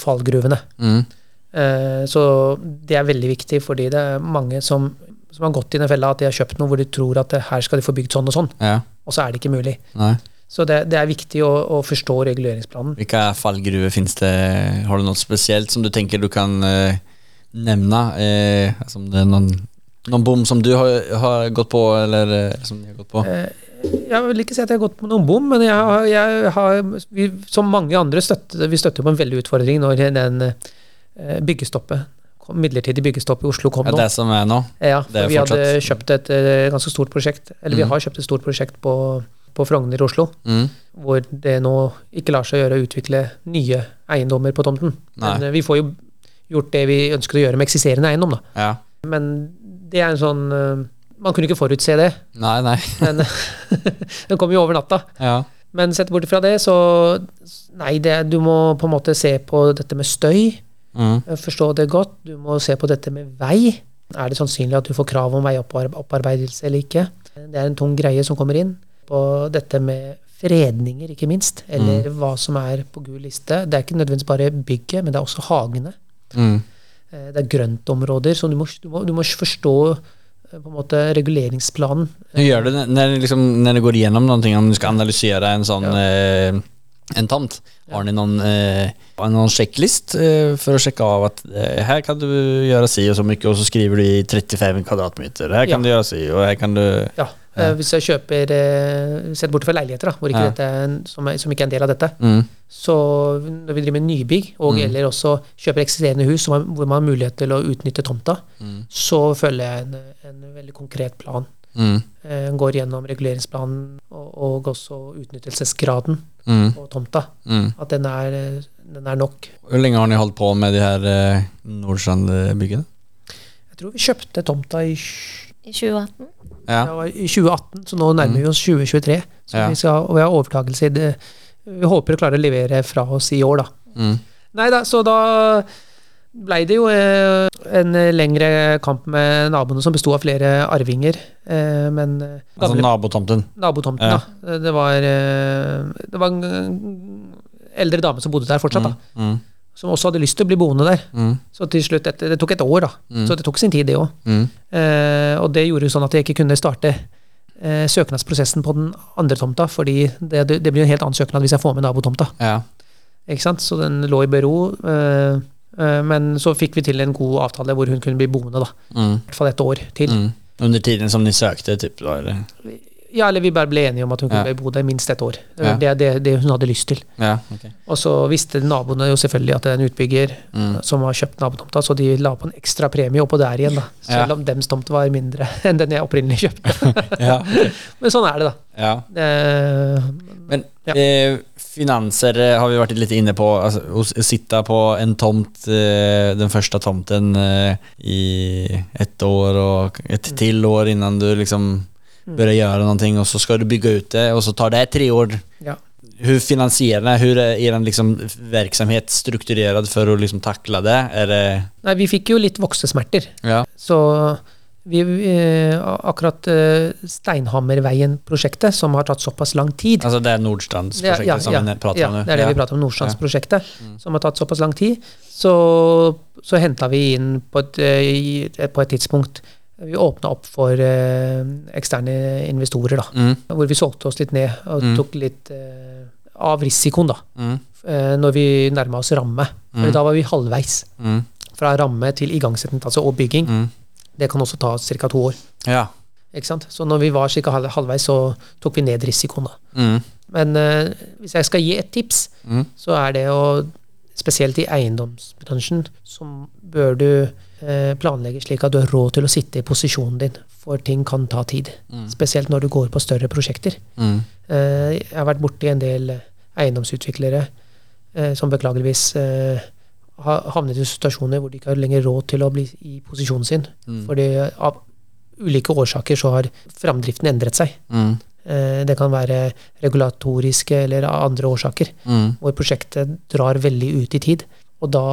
fallgruvene.
Mm.
Eh, Så det er veldig viktig, fordi det er mange som, som har gått i den fella at de har kjøpt noe hvor de tror at eh, her skal de få bygd sånn og sånn,
Ja.
og så er det ikke mulig.
Nej.
Så det, det er viktig å, å forstå reguleringsplanen.
Vilka fallgruvor finns det? Har du något speciellt som du tänker du kan eh, nämna? Eh, alltså, om det är någon Någon bom som du har, har gått på eller eh, som ni har gått på?
Jeg vil ikke si at jeg har gått på noen bom, men jeg har, jeg har vi, som mange andre støtte, vi støtter på en veldig utfordring når den eh, byggestoppet, kom- midlertidig byggestopp i Oslo kom
Ja,
nå.
det som er nå?
Ja,
Det er
for vi hadde
fortsatt- Mhm.
kjøpt et eh, ganske stort prosjekt, eller vi har kjøpt et stort prosjekt på, på Frogner i Oslo,
Mm.
hvor det nå ikke lar seg gjøre å utvikle nye eiendommer på tomten. Men
Nei.
eh, vi får jo gjort det vi ønsket å gjøre med eksisterende eiendom, da.
Ja.
Men det er en sånn eh, Man kunne ikke forutse det,
Nei, nei.
men den kom jo over natta.
Ja.
Men sett bort fra det, så Nei, det, du må på en måte se på dette med støy. eh,
Mm.
Forstå det godt. Du må se på dette med vei. Er det sannsynlig at du får krav om veiopparbeidelse eller ikke? Det er en tung greie som kommer inn. På dette med fredninger, ikke minst. Eller hva som er på gul liste. Det er ikke nødvendigvis bare bygget, men det er også hagene.
Mm.
Eh, Det er grøntområder. Så du må, du må, du må forstå eh, på en måte reguleringsplanen.
Hur gör du när- när, ni liksom, när du går igenom någonting, om du ska analysera en sånn eh, en tomt? Har ni någon, eh, har ni någon checklist eh, för att checka av att eh, här kan du göra si och så mycket och så skriver du i 35 kvadratmeter, här kan
Ja.
du göra si och här kan du...
Ja. eh, Hvis jeg kjøper eh, Sett bort fra leiligheter, da, hvor ikke
Ja.
dette er en, som, er, som ikke er en del av dette.
Mm.
Så når vi driver med nybygg, og eller også kjøper eksisterende hus som har- hvor man har mulighet til å utnytte tomta, så følger jeg en, en veldig konkret plan.
Mm.
Eh, Går gjennom reguleringsplanen og, og også utnyttelsesgraden
Mm.
på tomta.
Mm.
At den er, eh, den er nok.
Hur länge har ni hållit på med det här eh, Nordstrandbygget?
Jeg tror vi kjøpte tomta i, tj-
I 2018.
Ja. Mm.
det var i 2018, så nå nærmer vi oss 2023. Så
Ja.
vi skal, og vi har overtakelse i det. Vi håper å klare å levere fra oss i år, da.
Mm.
Nei da, så da blei det jo eh, en lengre kamp med naboene, som besto av flere arvinger. Eh, men eh,
Alltså
gamle
nabotomten?
nabotomten,
Altså Ja.
da. Det var, eh, det var en eh, eldre dame som bodde der fortsatt, da.
Mm.
Som også hadde lyst til å bli boende der.
Mm.
Så til slutt, etter, det tok et år, da. Så det tok sin tid, det òg.
Mm.
Eh, og det gjorde jo sånn at jeg ikke kunne starte eh, søknadsprosessen på den andre tomta, fordi det, det blir jo en helt annen søknad hvis jeg får med nabotomta.
Ja.
Ikke sant? Så den lå i bero. eh, eh, men så fikk vi til en god avtale hvor hun kunne bli boende, da.
Mm.
I hvert fall et år til.
Mm. Under tiden som ni søkte, typ? Då, eller?
Ja, eller vi bare ble enige om at hun kunne
Ja.
bli boende minst et år. Det
Ja.
var Det, det, det hun hadde lyst til.
Ja, okej.
Og så visste naboene jo selvfølgelig at det er en utbygger
Mm.
eh, som har kjøpt nabotomta, så de la på en ekstra premie oppå der igjen, da.
Ja.
Selv om dems tomt var mindre enn den jeg opprinnelig kjøpte.
Ja.
Men sånn er det, da.
ja.
Eh,
Men
Ja.
eh, finanser eh, har vi varit lite inne på. Alltså, att sitta på en tomt, eh, den första tomten eh, i ett år och
Mm.
ett till år innan du liksom börjar göra någonting och så ska du bygga ut det och så tar det tre år.
ja.
Hur finansierar ni? Hur är er liksom verksamhet strukturerad för att liksom tackla det? Är det
Nei, vi fikk jo litt voksesmerter.
ja.
Så vi, eh, akkurat eh, Steinhammerveien-prosjektet, som har tatt såpass lang tid
Alltså det är Nordstrandsprojektet Altså, som vi pratar
ja,
om nu?
det er det vi prater om. Nordstrandsprosjektet,
Mm.
som har tatt såpass lang tid. Så, så henta vi inn på et, eh, i- på et tidspunkt Vi åpna opp for eh, eksterne investorer, da.
Mm,
Hvor vi solgte oss litt ned og tok litt eh, av risikoen, da.
mm,
eh, når vi nærma oss ramme. For da var vi halvveis.
mm,
Fra ramme til igangsettelse og bygging.
mm.
Det kan også ta ca. to år.
Ja.
Ikke sant? Så når vi var cirka halv- halvveis, så tok vi ned risikoen. da.
Mm,
Men eh, hvis jeg skal gi et tips,
Mm.
så er det å Spesielt i eiendomsbransjen så bør du eh, planlegge slik at du har råd til å sitte i posisjonen din, for ting kan ta tid. Spesielt når du går på større prosjekter.
mm,
Eh, jeg har vært borti en del eh, eiendomsutviklere eh, som beklageligvis eh, har havnet i situasjoner hvor de ikke har lenger råd til å bli i posisjonen sin. Fordi eh, av ulike årsaker så har framdriften endret seg.
mm,
Eh, det kan være regulatoriske eller av andre årsaker.
mm,
Hvor prosjektet drar veldig ut i tid. Og da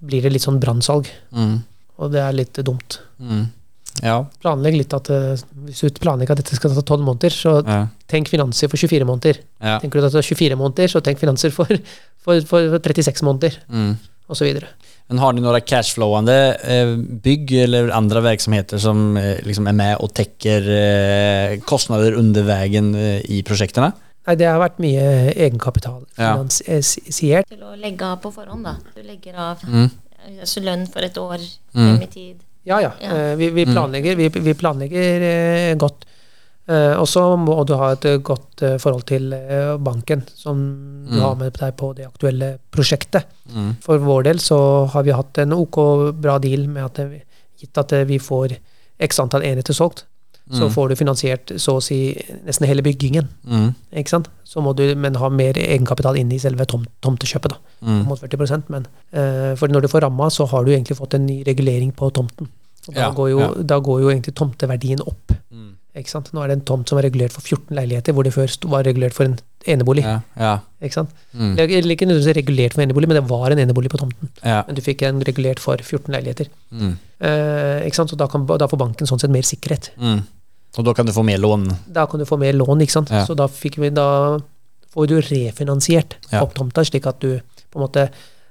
blir det litt sånn brannsalg.
mm.
Og det er litt dumt.
Mm. Ja.
Planlegg litt at eh, hvis du planlegger at dette skal ta tolv måneder, så
ja,
tenk finanser for 24 måneder.
ja.
Tenker du at det er 24 måneder, så tenk finanser for, for, for 36 måneder,
Mm.
osv.
Men har ni några cashflowande eh, bygg eller andra verksamheter som eh, liksom är med och täcker eh, kostnader under vägen eh, i projekten?
Nei, det har vært mye
Ja.
egenkapitalfinansiert.
Til å legge av på forhånd, da. Du legger av
Mm.
eh, altså lønn for et år
Mm.
frem i tid.
Ja. Ja, ja.
Ja.
Eh, Vi, vi planlegger, vi, vi planlegger eh, godt. Eh, Og så må du ha et eh, godt eh, forhold til eh, banken som du har med deg på det aktuelle prosjektet.
Mm.
For vår del så har vi hatt en ok bra deal med at eh, vi- gitt at eh, vi får x antall enheter solgt, så får du finansiert så å si nesten hele byggingen.
Mm.
Ikke sant? Så må du, men ha mer egenkapital inn i selve tom, tomtekjøpet. da,
Mm.
mot 40 men, eh, For når du får ramma, så har du egentlig fått en ny regulering på tomten. Og da,
Ja,
går jo,
ja. Mm.
da går jo egentlig tomteverdien opp. Ikke sant? Nå er det en tomt som er regulert for 14 leiligheter, hvor det før sto- var regulert for en enebolig.
Ja, ja, Mm.
Ikke sant? Det er ikke nødvendigvis regulert for en enebolig, men det var en enebolig på tomten.
ja.
Men du fikk en regulert for 14 leiligheter. Eh, ikke sant? Så da, kan, ba- da får banken sånn sett mer sikkerhet.
Mm. Og da kan du få mer lån.
da kan du få mer lån, ikke sant.
Ja.
Så da, fikk vi, da får du refinansiert
Ja.
opp tomta, slik at du på en måte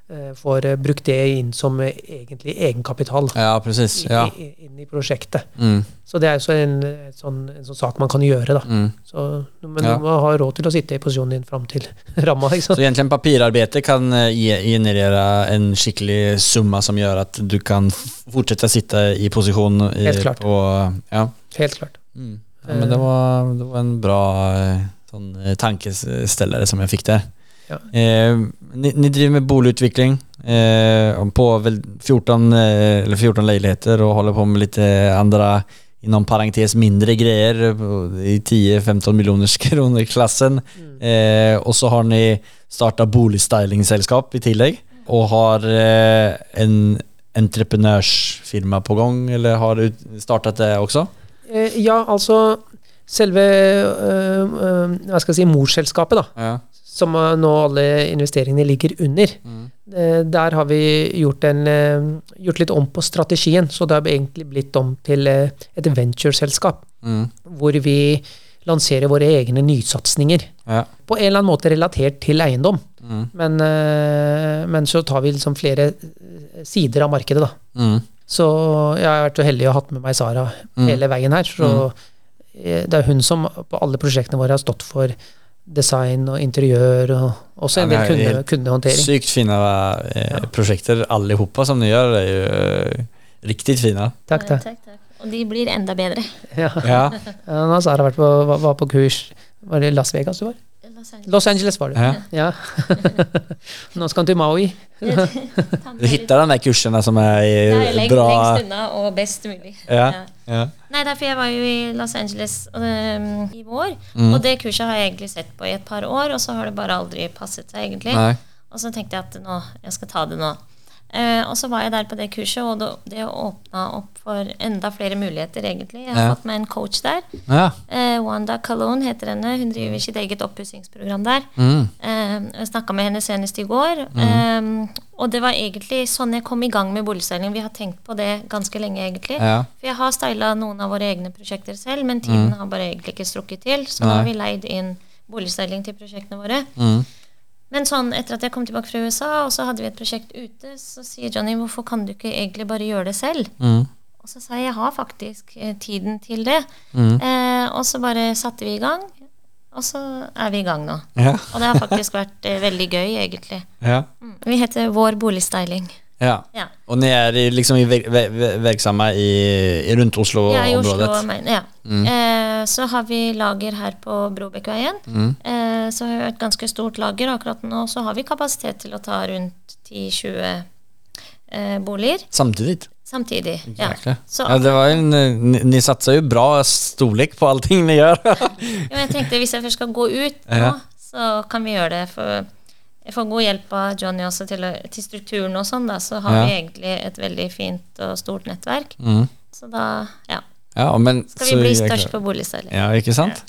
eh, får eh, brukt det inn som eh, egentlig egenkapital
Ja, presis.
i-
Ja.
i, inn i prosjektet.
Mm.
Så det er jo så en, eh, sånn, en sånn sak man kan gjøre, da.
Mm.
Så, men
Ja.
du må ha råd til å sitte i posisjonen din fram til ramma, ikke
Så
sant.
egentlig papirarbeidet kan eh, ge- generere en skikkelig summa som gjør at du kan f- fortsette å sitte i posisjon. I,
Helt klart.
På, ja.
Helt klart.
Mm. ja, men det var, det var en bra eh, sånn, eh, tankeställare som jeg fikk der.
Ja.
Eh, ni, ni driver med boligutvikling eh, på vel 14, eh, eller 14 leiligheter og holder på med litt eh, andre inom parentes mindre greier eh, i 10-15 miljoners kroner-klassen. Eh, og så har ni starta boligstylingselskap i tillegg. Og har eh, en entreprenørsfirma på gang, eller har ut, startet det også?
Eh, ja, altså Selve eh, eh, hva skal jeg si, morsselskapet, da,
Ja.
som eh, nå alle investeringene ligger under, Eh, Der har vi gjort, en, eh, gjort litt om på strategien, så det har egentlig blitt om til eh, et ventureselskap,
Mm.
hvor vi lanserer våre egne nysatsinger.
Ja.
På en eller annen måte relatert til eiendom, men, eh, men så tar vi liksom flere eh, sider av markedet, da.
Mm.
Så jeg har vært så heldig å ha hatt med meg Sara hele veien her. Så
Mm.
eh, det er hun som på alle prosjektene våre har stått for design og interiør, og også en
Ja,
del
det er
kunde,
helt
kundehåndtering.
Sykt fina eh, prosjekter allihopa som ni gör är ju eh, riktigt fina.
Takk, takk.
Takk, takk. Og de blir enda bedre.
Ja.
Ja.
Ja, Nå har Sara vært på, var, var på kurs Var det Las Vegas du var?
Los Angeles.
Los Angeles var du.
Ja.
Ja. Nå skal han til Maui.
Du hittar de där kurserna som är
Det
eh,
er lengst,
bra.
lengst unna og best mulig.
Ja.
Ja.
Ja.
Nei, derfor jeg var jo i Los Angeles øhm, i vår,
Mm.
og det kurset har jeg egentlig sett på i et par år, og så har det bare aldri passet seg, egentlig.
Nei.
Og så tenkte jeg at nå, jeg skal ta det nå. Eh, og så var jeg der på det kurset, og det, det åpna opp for enda flere muligheter, egentlig. Jeg har
Ja.
fått meg en coach der.
Ja.
Eh, Wanda Calone heter henne. Hun driver sitt eget oppussingsprogram der.
Mm.
Eh, jeg snakka med henne senest i går. Eh, og det var egentlig sånn jeg kom i gang med boligstyling. Vi har tenkt på det ganske lenge, egentlig.
Ja.
For jeg har styla noen av våre egne prosjekter selv, men tiden har bare egentlig ikke strukket til. Så da har vi leid inn boligstyling til prosjektene våre.
Mm.
Men sånn, etter at jeg kom tilbake fra USA, og så hadde vi et prosjekt ute, så sier Johnny, hvorfor kan du ikke egentlig bare gjøre det selv?
Mm.
Og så sa jeg, jeg har faktisk eh, tiden til det. Eh, og så bare satte vi i gang, og så er vi i gang nå.
Ja.
Og det har faktisk vært eh, veldig gøy, egentlig.
Ja.
Mm. Vi heter Vår boligstyling.
Ja.
Ja.
Och ni är i- liksom i ver- ver- ver- verksamma i, i runt
Ja, i Oslo
Oslo-området?
og Maine. Ja.
Mm.
Eh, så har vi lager her på Brobekkveien.
Mm.
Eh, så har vi et ganske stort lager akkurat nå. Så har vi kapasitet til å ta rundt 10-20 eh, boliger
Samtidigt?
samtidig. Ja.
Jäklar.
Så
Ja, det var ju en, eh, ni, ni satsar ju bra storlek på allting ni gör.
jo, jeg tenkte hvis jeg først skal gå ut nå,
Ja.
så kan vi gjøre det. For jeg får god hjelp av Johnny også til, å- til strukturen og sånn, da. Så har
Ja.
vi egentlig et veldig fint og stort nettverk.
Mm.
Så da, ja.
ja, men,
Skal
så
vi bli
jäklar.
størst på boligstyling.
Ja, ikke sant?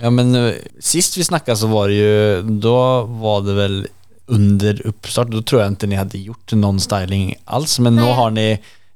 Ja, men eh, sist vi snakket så var det jo Da var det vel under oppstart. Da tror jeg ikke ni hadde gjort noen styling alls, men nå
Nei.
har ni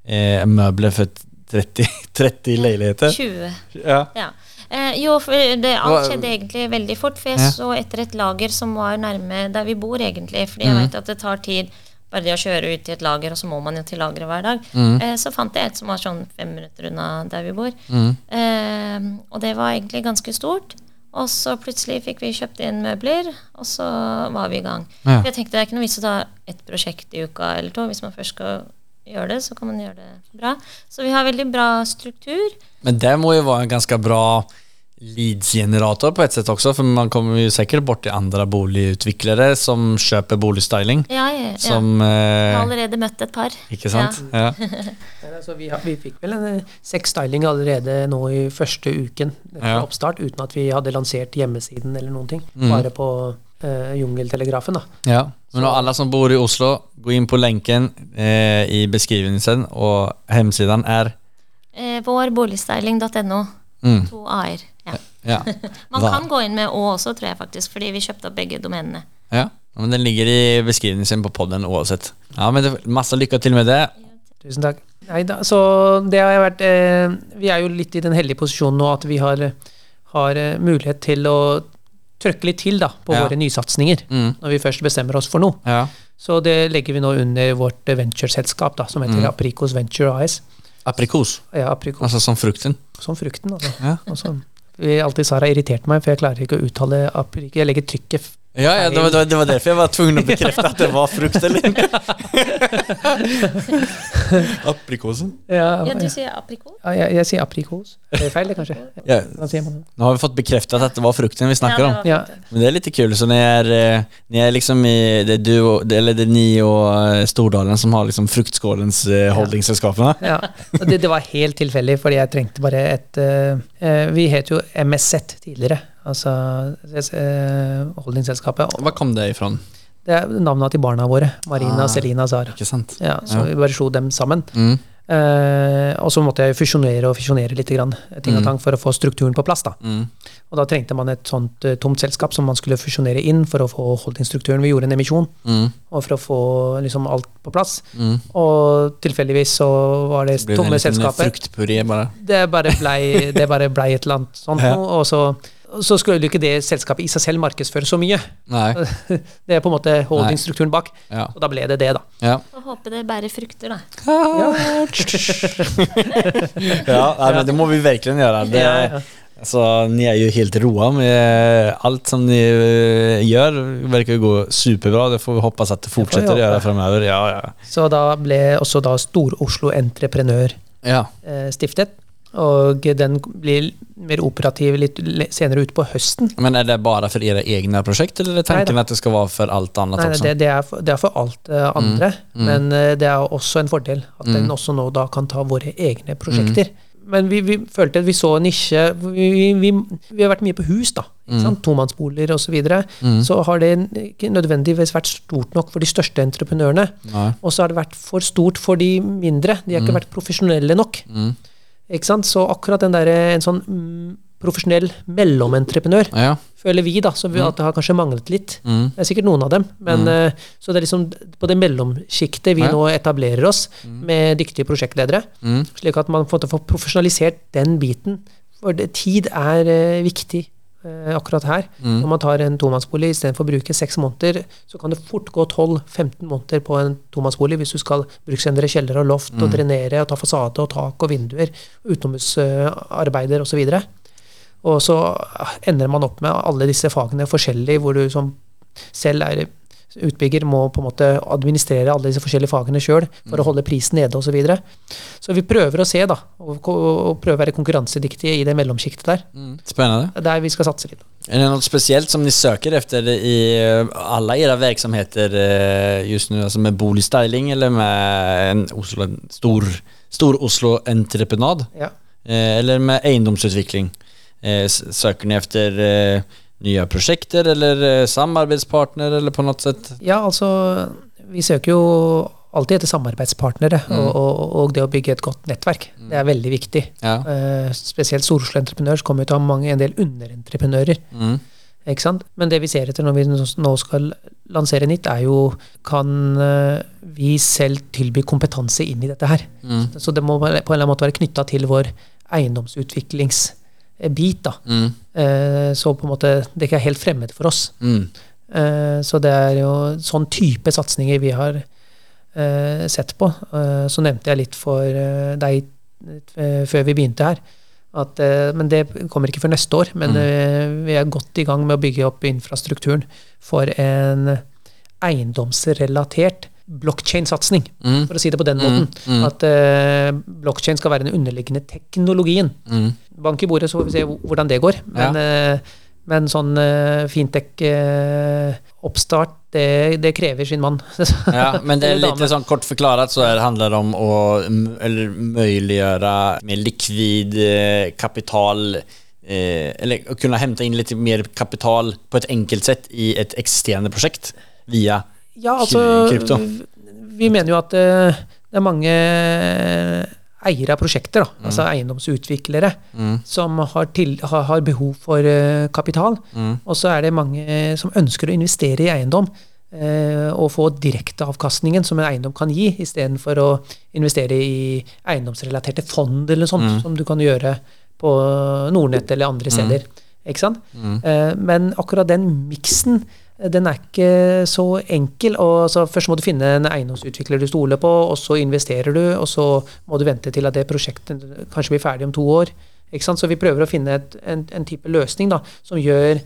eh, møbler for 30, 30 leiligheter.
20.
Ja.
Ja. Eh, jo, for det, alt
Hva-
skjedde egentlig veldig fort. For jeg
Ja.
så etter et lager som var nærme der vi bor, egentlig. Fordi
Mhm.
jeg vet at det tar tid bare det å kjøre ut til et lager, og så må man jo til lageret hver dag.
Mhm.
Eh, så fant jeg et som var sånn fem minutter unna der vi bor.
Mhm.
Eh, og det var egentlig ganske stort. Og så plutselig fikk vi kjøpt inn møbler, og så var vi i gang.
Ja.
For jeg tenkte det er ikke noe vits å ta ett prosjekt i uka eller to hvis man først skal gjør det, så kan man gjøre det bra. Så vi har veldig bra struktur.
Men det må ju vara en ganska bra leadsgenerator på ett sätt också för man kommer ju säkert bort till andra boligutvecklare som köper boligstyling.
Ja, ja, ja.
Som,
Jeg har
eh,
allerede møtt et par.
ikke sant? Ja.
Nei, altså, vi, har, vi fikk vel en eh, seks styling allerede nå i første uken etter
Ja. Mm.
oppstart, uten at vi hadde lansert hjemmesiden eller noen ting. Bare på eh, Jungeltelegrafen, da.
Ja. Men og alle som bor i Oslo, gå inn på lenken eh, i beskrivelsen, og hjemsiden er
Eh, Vårboligstyling.no.
mm,
To a-er. Ja.
ja. Eh,
Man
Hva?
kan gå inn med å også, tror jeg faktisk, fordi vi kjøpte opp begge domenene.
ja. Men den ligger i beskrivelsen på podden uansett. Ja, men det, masse lykke til med det.
Tusen takk. Nei, da, så det har jeg vært eh, Vi er jo litt i den heldige posisjonen nå at vi har, har eh, mulighet til å trøkke litt til da, på
Ja.
våre nysatsinger,
Mm.
når vi først bestemmer oss for noe.
Ja.
Så det legger vi nå under vårt eh, ventureselskap, da, som
Mm.
heter Apricos Venture AS.
Aprikos,
Ja, Apricos
altså som frukten.
som frukten. Altså.
Ja.
Altså, vi alltid Sara har irritert meg, for jeg klarer ikke å uttale aprikos. Jeg legger trykket f-
Ja, ja det, var, det var- det var derfor jeg var tvungen å bekrefte at det var frukt eller ikke. Aprikosen.
ja,
Ja, du
ja,
sier aprikos?
jeg, jeg sier aprikos. Det er feil, det, kanskje?
Ja,
Hva sier man?
nå har vi fått bekreftet at det var frukten vi snakker om.
Ja.
Men det är lite kul, så ni är, eh, ni är liksom i, det är du och, det- eller det är ni och eh, Stordalen som har liksom fruktskålens eh, holdingsällskapen?
Ja. Og det, det var helt tilfeldig, fordi jeg trengte bare et eh, eh, Vi het jo MSZ tidligere, altså eh, holdingselskapet.
Var kom det ifrån?
Det er navnene til barna våre. Marina,
Ah.
Selina, Sara.
Ikke sant?
Ja, så
Ja.
vi bare slo dem sammen.
Mm.
Eh, og så måtte jeg jo fusjonere og fisjonere litt grann, ting og
Mm.
tang for å få strukturen på plass. da.
Mm.
Og da trengte man et sånt eh, tomt selskap som man skulle fusjonere inn for å få holdingstrukturen. Vi gjorde en emisjon,
Mm.
og for å få liksom alt på plass.
Mm.
Og tilfeldigvis så var det
Det blev en
tomme
liten eh,
selskapet.
fruktpuré bara.
Det bare blei det bare blei et eller annet sånt
Ja.
noe. Og så, og så skulle jo ikke det selskapet i seg selv markedsføre så mye.
Nej.
Det er på en måte holdingstrukturen bak.
Ja.
Og da ble det det, da.
Ja.
Får håpe det bærer frukter, da.
ja, nej, men det må vi verkligen göra. Det,
Ja, ja.
Alltså, ni är ju helt roa med eh, allt som ni eh, gör verkar ju gå superbra. Det får vi hoppas att det
vi
fortsätter
hoppas.
göra framöver. Ja, ja.
Så da ble også da Stor-Oslo Entreprenør
ja.
eh, stiftet. Og den blir mer operativ litt le- senere ut på høsten.
Men är det bara för era egna projekt eller är det tanken
Nej då.
att det ska vara för allt annat
Nei,
också?
det, det, er for, det er for alt eh, andre, men eh, det er også en fordel at den også nå da kan ta våre egne prosjekter. Men vi, vi følte at vi så en nisje vi, vi, vi har vært mye på hus, da. Ikke sant? Tomannsboliger osv. Så, videre. så har det ikke nødvendigvis vært stort nok for de største entreprenørene.
Nei.
Og så har det vært for stort for de mindre. De har ikke vært profesjonelle nok. Ikke sant? Så akkurat den der, eh, en sånn mm, profesjonell mellomentreprenør
Ja.
føler vi, da, så vi, at det har kanskje manglet litt.
Mm.
Det er sikkert noen av dem, men eh, så det er liksom på det mellomsjiktet vi
Ja.
nå etablerer oss med dyktige prosjektledere,
Mm.
slik at man får, får profesjonalisert den biten. For det, tid er eh, viktig eh, akkurat her.
Mm.
Når man tar en tomannsbolig istedenfor å bruke seks måneder, så kan det fort gå 12-15 måneder på en tomannsbolig hvis du skal bruksendre kjeller og loft
Mm.
og drenere og ta fasade og tak og vinduer, utenomhusarbeider osv. Og så ender man opp med alle disse fagene forskjellig, hvor du som selv er utbygger, må på en måte administrere alle disse forskjellige fagene sjøl for
Mm.
å holde prisen nede osv. Så, videre. så vi prøver å se, da, og, ko- og prøve å være konkurransedyktige i det mellomsjiktet der.
Mm. Spännande.
Det er der vi skal satse litt.
Är det något speciellt som ni söker efter i eh, alla era verksamheter eh, just nu? Alltså med Bolig Styling eller med en, Oslo, en stor, stor Oslo entreprenad?
Ja.
Eh, Eller med eiendomsutvikling? Eh, s- Söker ni efter eh, nya projekter eller eh, samarbetspartner eller på något sätt?
Ja, altså Vi søker jo alltid etter samarbeidspartnere,
Mm.
og, og, og det å bygge et godt nettverk. Det er veldig viktig.
Ja.
Eh, spesielt Stor-Oslo Entreprenør så kommer jo til å ha mange, en del underentreprenører.
Mm.
Ikke sant? Men det vi ser etter når vi nå skal lansere nytt, er jo kan eh, vi selv tilby kompetanse inn i dette her.
Mm.
Så det må være- på en eller annen måte være knytta til vår eiendomsutviklingsbit. da.
Mm.
Eh, Så på en måte det ikke er helt fremmed for oss.
Mm.
Eh, Så det er jo sånn type satsinger vi har eh, sett på. Eh, Så nevnte jeg litt for eh, deg eh, før vi begynte her. At, eh, men det kommer ikke før neste år.
Mm.
Men eh, vi er godt i gang med å bygge opp infrastrukturen for en eiendomsrelatert blockchain-satsing,
Mm.
for å si det på den måten. At eh, blockchain skal være den underliggende teknologien.
Mm.
Bank i bordet, så får vi se hvor- hvordan det går. Men, eh, men sånn eh, fintech-oppstart, det, det krever sin mann.
Ja, men det er
Eller dame.
lite sånn kort forklarat så är- handlar det om att m- eller möjliggöra mer likvid eh, kapital eh, eller kunna hämta in lite mer kapital på ett enkelt sätt i ett existerande projekt via
Ja,
Kry-
altså
krypto.
v- Vi mener jo at eh, det er mange eh, eiere av prosjekter, da, altså eiendomsutviklere, som har, til, har, har behov for eh, kapital. Og så er det mange som ønsker å investere i eiendom. eh, Og få direkteavkastningen som en eiendom kan gi, istedenfor å investere i eiendomsrelaterte fond eller sånt, som du kan gjøre på Nordnett eller andre steder. Ikke sant? Eh, Men akkurat den miksen, eh, den er ikke så enkel. Og så først må du finne en eiendomsutvikler du stoler på, og så investerer du, og så må du vente til at det prosjektet kanskje blir ferdig om to år. Ikke sant? Så vi prøver å finne et, en, en type løsning da, som gjør eh,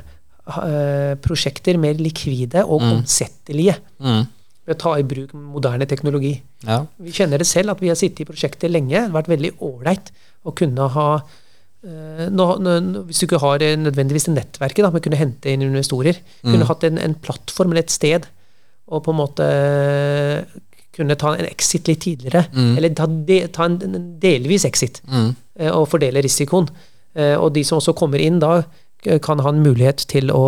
eiendomsprosjekter eh, mer likvide og omsettelige ved å ta i bruk moderne teknologi.
Ja.
Vi kjenner det selv at vi har sittet i prosjekter lenge. Det har vært veldig ålreit å kunne ha eh, nå, nå, nå- Hvis du ikke har eh, nødvendigvis det nettverket, da, men kunne hente inn investorer. Kunne hatt en, en plattform eller et sted og på en måte eh, kunne ta en exit litt tidligere. Eller ta, de, ta en, en delvis exit eh, og fordele risikoen. Eh, og de som også kommer inn da, k- kan ha en mulighet til å,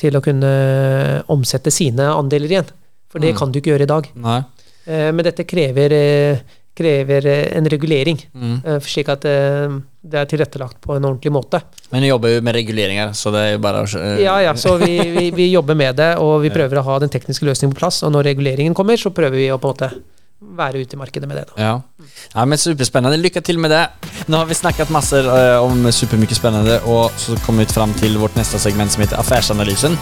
til å kunne eh, omsette sine andeler igjen. For det kan du ikke gjøre i dag.
Nej.
Eh, Men dette krever, eh, krever eh, en regulering, eh, slik at eh, det er tilrettelagt på en ordentlig måte.
Men ni jobbar ju med reguleringar så det är ju bara att eh,
Ja, ja, så vi, vi, vi jobber med det, og vi prøver å ha den tekniske løsningen på plass. Og når reguleringen kommer, så prøver vi å på en måte være ute i markedet med det. da.
Ja. ja, men superspännande. Lycka till med det. Nu har vi snackat massor eh, om supermycket spännande och så kommer vi fram till vårt nästa segment som heter Affärsanalysen.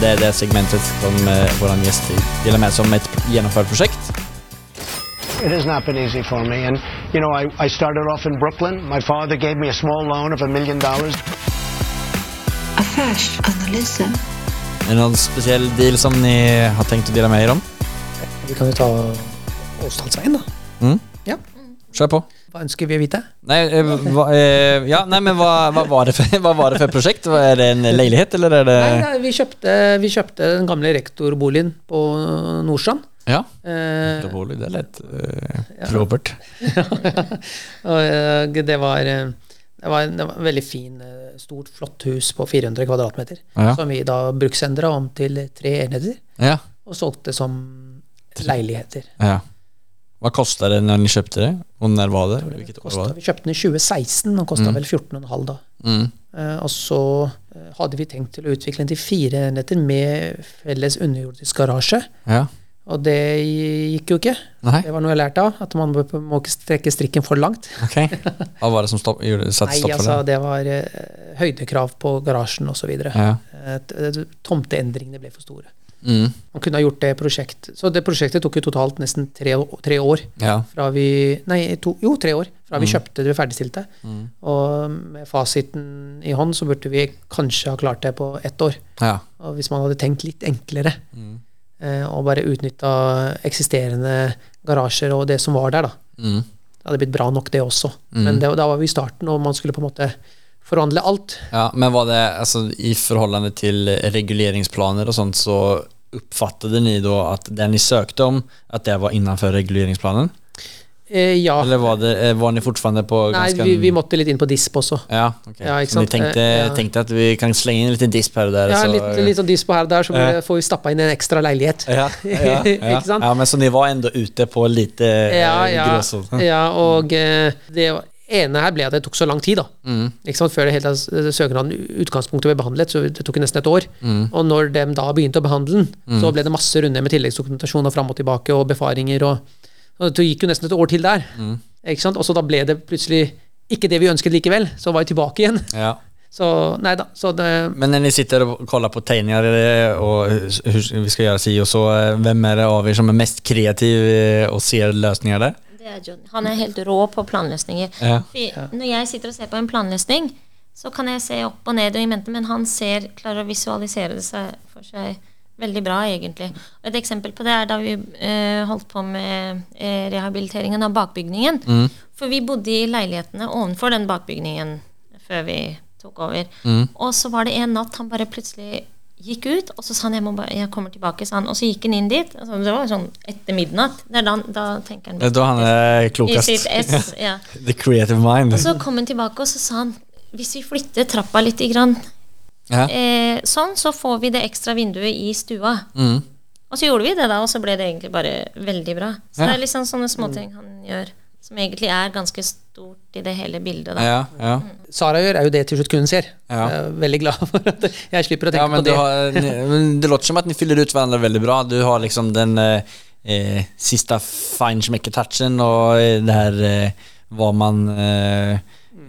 Det är det segmentet som eh, vår gäst delar med sig om ett genomfört projekt.
It has not been easy for me. And, you know, I, I started off in Brooklyn. My father gave me a small loan of a million dollars.
Affärsanalysen.
Är det någon speciell deal som ni har tänkt att dela med er om?
Vi kan jo ta Åsdalsveien, da.
Kör på.
Hva ønsker vi å vite?
Nej, eh, va, eh, ja, nej men vad, vad, var det för, vad var det för projekt? Vad Är det en lägenhet eller är
Nei,
det...
nei, vi, kjøpte, vi kjøpte den gamle rektorboligen på Nordstrand.
Ja.
Eh,
Det lät eh, propert.
Og, eh, det, var, eh, det, var, det var en veldig fin, eh, stort, flott hus på 400 kvadratmeter.
Ja.
Som vi da bruksendra om til tre enheter,
Ja.
og solgte som leiligheter.
Ja. Vad kostade det när ni köpte det? Och när var det? Vilket år var
Kostet,
det?
vi kjøpte den i 2016, og kosta vel 14,5 da.
Mm.
Eh, Og så eh, hadde vi tenkt til å utvikle den til fire enheter med felles underjordisk garasje.
Ja.
Og det gikk jo ikke.
Nej,
Det var noe jeg lærte av, at man må må ikke strekke strikken for langt.
okej. Vad var det som stopp, gjorde, satte
Nei,
stopp for
altså,
det?
det var eh, høydekrav på garasjen osv.
Ja.
Eh, Tomteendringene ble for store.
Mm.
Man kunne ha gjort det prosjekt. Så det prosjektet tok jo totalt nesten tre, å- tre år
Ja.
fra vi Nei, to, jo, tre år fra
Mm.
vi kjøpte det vi ferdigstilte. Og med fasiten i hånd så burde vi kanskje ha klart det på ett år.
Ja.
Og hvis man hadde tenkt litt enklere, eh, og bare utnytta eksisterende garasjer og det som var der, da.
Mm.
Det hadde blitt bra nok, det også. Men det, da var vi i starten, og man skulle på en måte forhandle alt.
ja. Men var det, alltså, i förhållande till regleringsplaner och sånt så uppfattade ni då att det ni sökte om, att det var innanför regleringsplanen?
Eh, ja.
Eller var, det, eh, var ni fortfarande på
Nei,
ganska...
vi, vi måtte litt inn på DISP også.
Ja, okej.
Ja, ikke
så ni
sant?
tänkte,
Eh, ja.
tänkte att vi kan slänga in en liten disp här och där?
Ja,
så,
litt, litt sånn DISP her og der, så blir det- får vi stappa inn en ekstra leilighet.
Ja, ja, ja.
Ikke sant?
ja, men så ni var ändå ute på lite eh, sånn.
Ja, ja,
gråzonen.
ja og eh, det ene her ble at det tok så lang tid, da.
Mm.
Ikke sant? Før det hele tatt, eh, søknaden i utgangspunktet ble behandlet, så det tok jo nesten et år.
Mm.
Og når de da begynte å behandle den, så ble det masse runder med tilleggsdokumentasjon og fram og tilbake og befaringer og og Det gikk jo nesten et år til der.
Mm.
Ikke sant? Og så da ble det plutselig ikke det vi ønsket likevel, så var vi tilbake igjen.
Ja.
Så nei da. Så det
Men när ni sitter och kollar på tegningar eh, och hur hur vi ska göra si och så, eh, vem är det av er som är mest kreativ eh, og ser løsninger der?
Det er Johnny. Han er helt rå på planløsninger.
Ja.
Fordi Når jeg sitter og ser på en planløsning, så kan jeg se opp og ned og i mente, men han ser, klarer å visualisere det seg for seg Veldig bra, egentlig. Og Et eksempel på det er da vi eh, holdt på med eh, rehabiliteringen av bakbygningen.
Mm.
For vi bodde i leilighetene ovenfor den bakbygningen før vi tok over.
Mm.
Og så var det en natt han bare plutselig gikk ut, og så sa han jeg, må bare, jeg kommer tilbake, sa han. Og så gikk han inn dit. Altså, det var sånn etter midnatt. Det er da, han- da tenker han
Det er da han er
i sitt
klokest.
ess. Ja.
The creative mind.
Og så kom han tilbake, og så sa han hvis vi flytter trappa litt, grann,
Ja.
eh, sånn, så får vi det ekstra vinduet i stua.
Mm.
Og så gjorde vi det, da, og så ble det egentlig bare veldig bra. Så
Ja. Mm.
det er liksom sånne småting han gjør, som egentlig er ganske stort i det hele bildet. Da.
Ja, ja.
Sara gjør, er jo det til slutt kunden ser.
Ja.
Jeg er veldig glad for at jeg slipper å tenke
ja, men
på det.
du har, eh, ni- men det låter som att ni fyller ut varandra väldigt bra. Du har liksom den eh, eh, sista feinschmecker-touchen och eh, det här eh, vad man eh,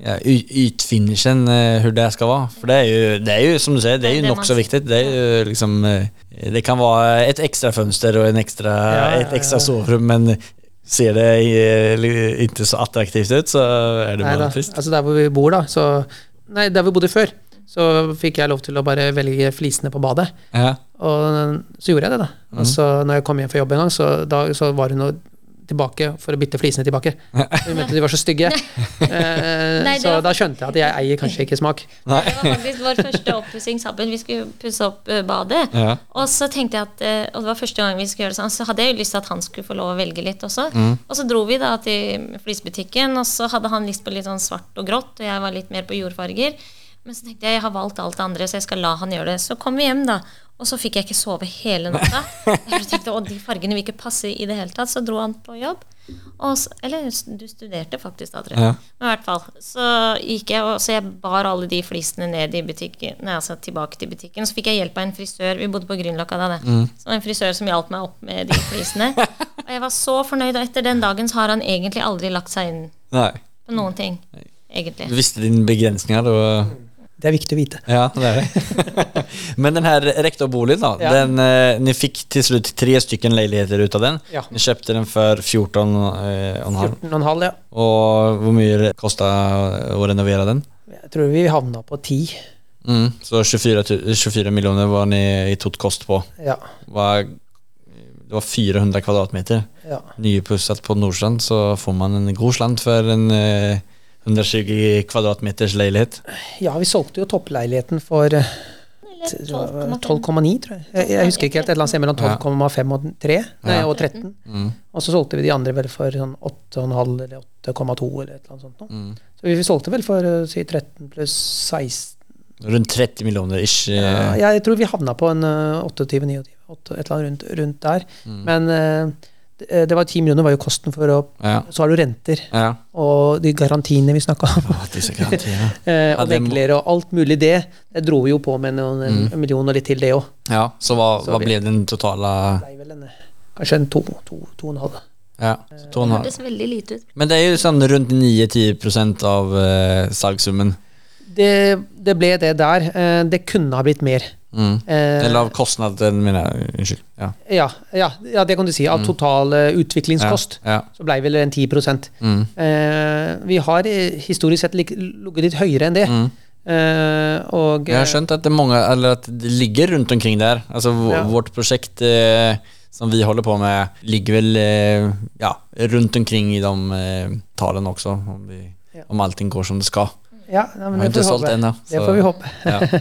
ja, y- ytfinishen, eh, hur det ska vara. För det är ju, det är ju som du säger, det är
Det är
ju
det
nog så
man-
viktigt. Det, är ju liksom, eh, det kan vara ett extra fönster och en extra,
Ja, ja,
ett extra
ja.
sovrum men ser det eh, li- inte så attraktivt ut så är det
Nei da,
bara trist.
altså der hvor vi bor, da. Så, nei, der vi bodde før, så fikk jeg lov til å bare velge flisene på badet.
Ja.
Og så gjorde jeg det, da.
Mhm.
Og så når jeg kom hjem fra jobb en gang, så, da, så var hun og tilbake for å bytte flisene tilbake. Hun mente de var så stygge. Eh,
Nei, det
så
var-
da skjønte jeg at jeg eier kanskje ikke smak.
Det var faktisk vår første oppussing sammen. Vi skulle pusse opp eh, badet.
Ja.
Og så tenkte jeg at, eh, og det var første gang vi skulle gjøre det sånn, så hadde jeg jo lyst til at han skulle få lov å velge litt også. Og så dro vi da til flisbutikken, og så hadde han lyst på litt sånn svart og grått, og jeg var litt mer på jordfarger. Men så tenkte jeg jeg har valgt alt det andre, så jeg skal la han gjøre det. Så kom vi hjem, da. Og så fikk jeg ikke sove hele natta. Jeg bare tenkte, å, de fargene vil ikke passe i det hele tatt. Så dro han på jobb. Og så, eller du studerte faktisk da, tror jeg.
Ja.
Men i hvert fall, så gikk jeg, og så jeg bar alle de flisene ned i butikken, nei, altså tilbake til butikken. Så fikk jeg hjelp av en frisør, vi bodde på Grünerløkka da, det. Så det var en frisør som hjalp meg opp med de flisene. og jeg var så fornøyd, og etter den dagen så har han egentlig aldri lagt seg inn
Nej.
på noen ting,
Du
egentlig.
visste dine begränsningar och
Det er viktig å vite.
Ja, det är det. Men den här rektorboligen då,
Ja.
den, eh, ni fick till slut tre stycken lägenheter utav den.
Ja.
Ni köpte den för 14 eh, och en halv.
14,5, ja.
Och hur mycket det kostade att renovera eh, den?
Jeg tror vi havna på 10.
Mm. Så 24, tu- 24 miljoner var ni i tot kost på.
Ja.
Var, det var 400 kvadratmeter.
ja.
Nypussat på Nordstrand så får man en god slant för en eh, 120 kvadratmeters lägenhet.
Ja, vi solgte jo toppleiligheten for eh,
Eller
12,9,
12,5.
tror jeg. jeg. Jeg husker ikke helt, et eller annet sted mellom 12,5 og 3, nei,
Ja. Mm.
og 13. Og så solgte vi de andre vel for sånn 8,5 eller 8,2 eller et eller annet sånt. nå.
Mm.
Så vi solgte vel for eh, si 13 pluss 16
Runt 30 miljoner ish. eh.
Ja, Jeg tror vi havna på en eh, 28-29, et eller annet rundt, rundt der.
Mm.
Men eh, det, det var 10 millioner var jo kosten for å
Ja.
Så har du renter
Ja.
og de garantiene vi snakka om.
Att det är så garanterat.
eh,
Ja,
og
det må- Mm.
megler og alt mulig det. Det dro vi jo på med noen, en million og litt til, det òg.
Ja, så hva,
Så
hva
vi-
ble den totale
Blei vel en, kanskje en to, to, to og en halv.
ja, så to og en halv.
Hørtes veldig lite ut.
Men det er jo sånn rundt 9-10 av eh, salgssummen.
Det, det ble det der. Eh, det kunne ha blitt mer.
Mm.
Eh,
Eller av kostnaden, mener jeg. Unnskyld. Ja.
ja, ja, ja, det kan du si. Av total eh,
Ja.
utviklingskost
Mm. Ja.
så blei vel en 10
Mm.
eh, Vi har eh, historisk sett lik- ligget litt høyere enn det. Eh, og
Mm. Jeg har skjønt at det, er mange, eller at det ligger rundt omkring der. Altså v-
Ja.
Vårt prosjekt eh, som vi holder på med, ligger vel eh, ja, rundt omkring i de eh, tallene også, om, vi,
Ja.
om allting går som det skal.
eh, Ja, nei, men
Har
det får
ikke
vi
solgt
håpe.
ennå,
Det
så-
får vi håpe.
Ja.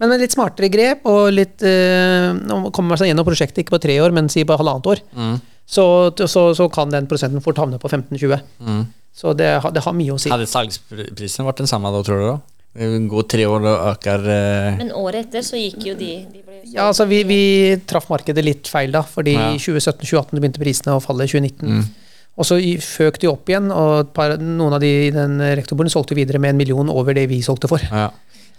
Men med litt smartere grep og litt eh, Nå kommer man seg gjennom prosjektet ikke på tre år, men si på halvannet år,
Mm.
så, så, så kan den prosenten fort havne på 15-20.
Mm.
Så det, har- det har mye å si.
Hadde salgsprisen vært den samme da, tror du? da? Det går tre år og øker eh,
Men året etter så gikk jo de, de ble jo
Ja, altså vi, vi traff markedet litt feil da, fordi
Ja. Mm.
i 2017-2018 begynte prisene å falle i 2019. Og så i- føk de opp igjen, og et par, noen av de i den rektorbordet solgte videre med en million over det vi solgte for.
Ja.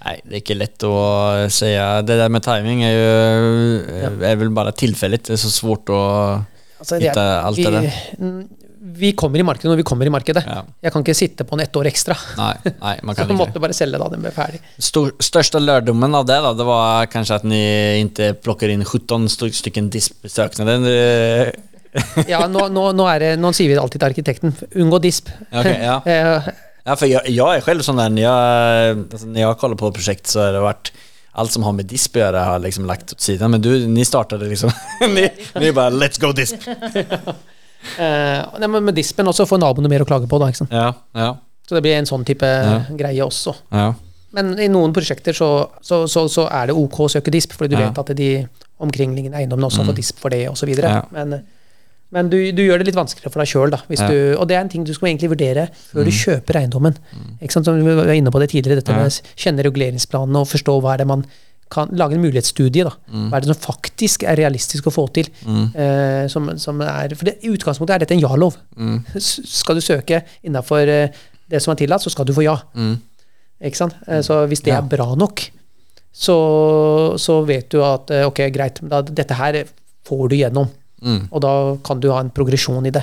Nei, det er ikke lett å si. Det der med timing er jo er vel bare tilfellet. Det er så svårt å
Altså, det er-
hitte alt det der.
Vi, vi kommer i markedet når vi kommer i markedet.
Ja.
Jeg kan ikke sitte på den ett år ekstra.
Nei, nei, man
Så
kan
vi
ikke.
måtte bare selge da den ble ferdig.
Stor, største lærdommen av det da, det var kanskje at dere ikke plukker inn 17 st stykken dispsøknader. Det-
Ja, nå, nå, nå, er det, nå sier vi det alltid til arkitekten. Unngå disp.
Ok, ja.
Eh,
sånn altså, Ja, för jag, jag är själv sån där, när jag, alltså, när jag kollar på projekt så har det varit allt som har med disp att göra har jag liksom lagt åt sidan. Men du, ni startade liksom, ni, ni bara let's go disp.
Eh, nei, men med dispen også får naboene mer å klage på, da. Ikke sant?
Ja, ja,
Så det blir en sånn type greie også.
ja.
Men i noen prosjekter så, så, så, så er det ok å søke disp, fordi du
Ja. Mm.
vet at de omkringliggende eiendommene også har fått disp for det, osv.
Ja.
Men, men du, du gjør det litt vanskeligere for deg sjøl, da. Hvis
Ja. Mm.
du, og det er en ting du skal egentlig vurdere før du kjøper eiendommen. Ikke sant? Som vi var inne på det tidligere, dette
Ja.
med å kjenne reguleringsplanene og forstå hva er det man kan lage en mulighetsstudie. da.
Mm.
Hva er det som faktisk er realistisk å få til? Eh, som, som er, for det, I utgangspunktet er dette en ja-lov.
Mm.
S- Skal du søke innafor det som er tillatt, så skal du få ja. Ikke sant? Eh, Så hvis det
Mm. Ja.
er bra nok, så, så vet du at eh, ok, greit, men da, dette her får du gjennom.
Mm.
Og da kan du ha en progresjon i det.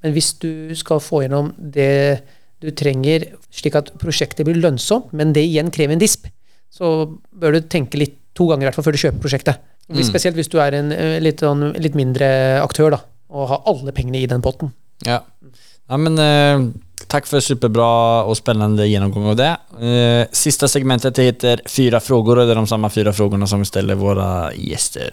Men hvis du skal få gjennom det du trenger, slik at prosjektet blir lønnsomt, men det igjen krever en disp, så bør du tenke litt to ganger i hvert fall før du kjøper prosjektet. Hvis,
Mm.
Spesielt hvis du er en eh, litt, sånn, litt mindre aktør da, og har alle pengene i den potten.
Ja. ja men eh, tack för superbra och spännande genomgång av det. Eh, sista segmentet heter Fyra frågor och det är de samma fyra frågorna som vi ställer våra gäster.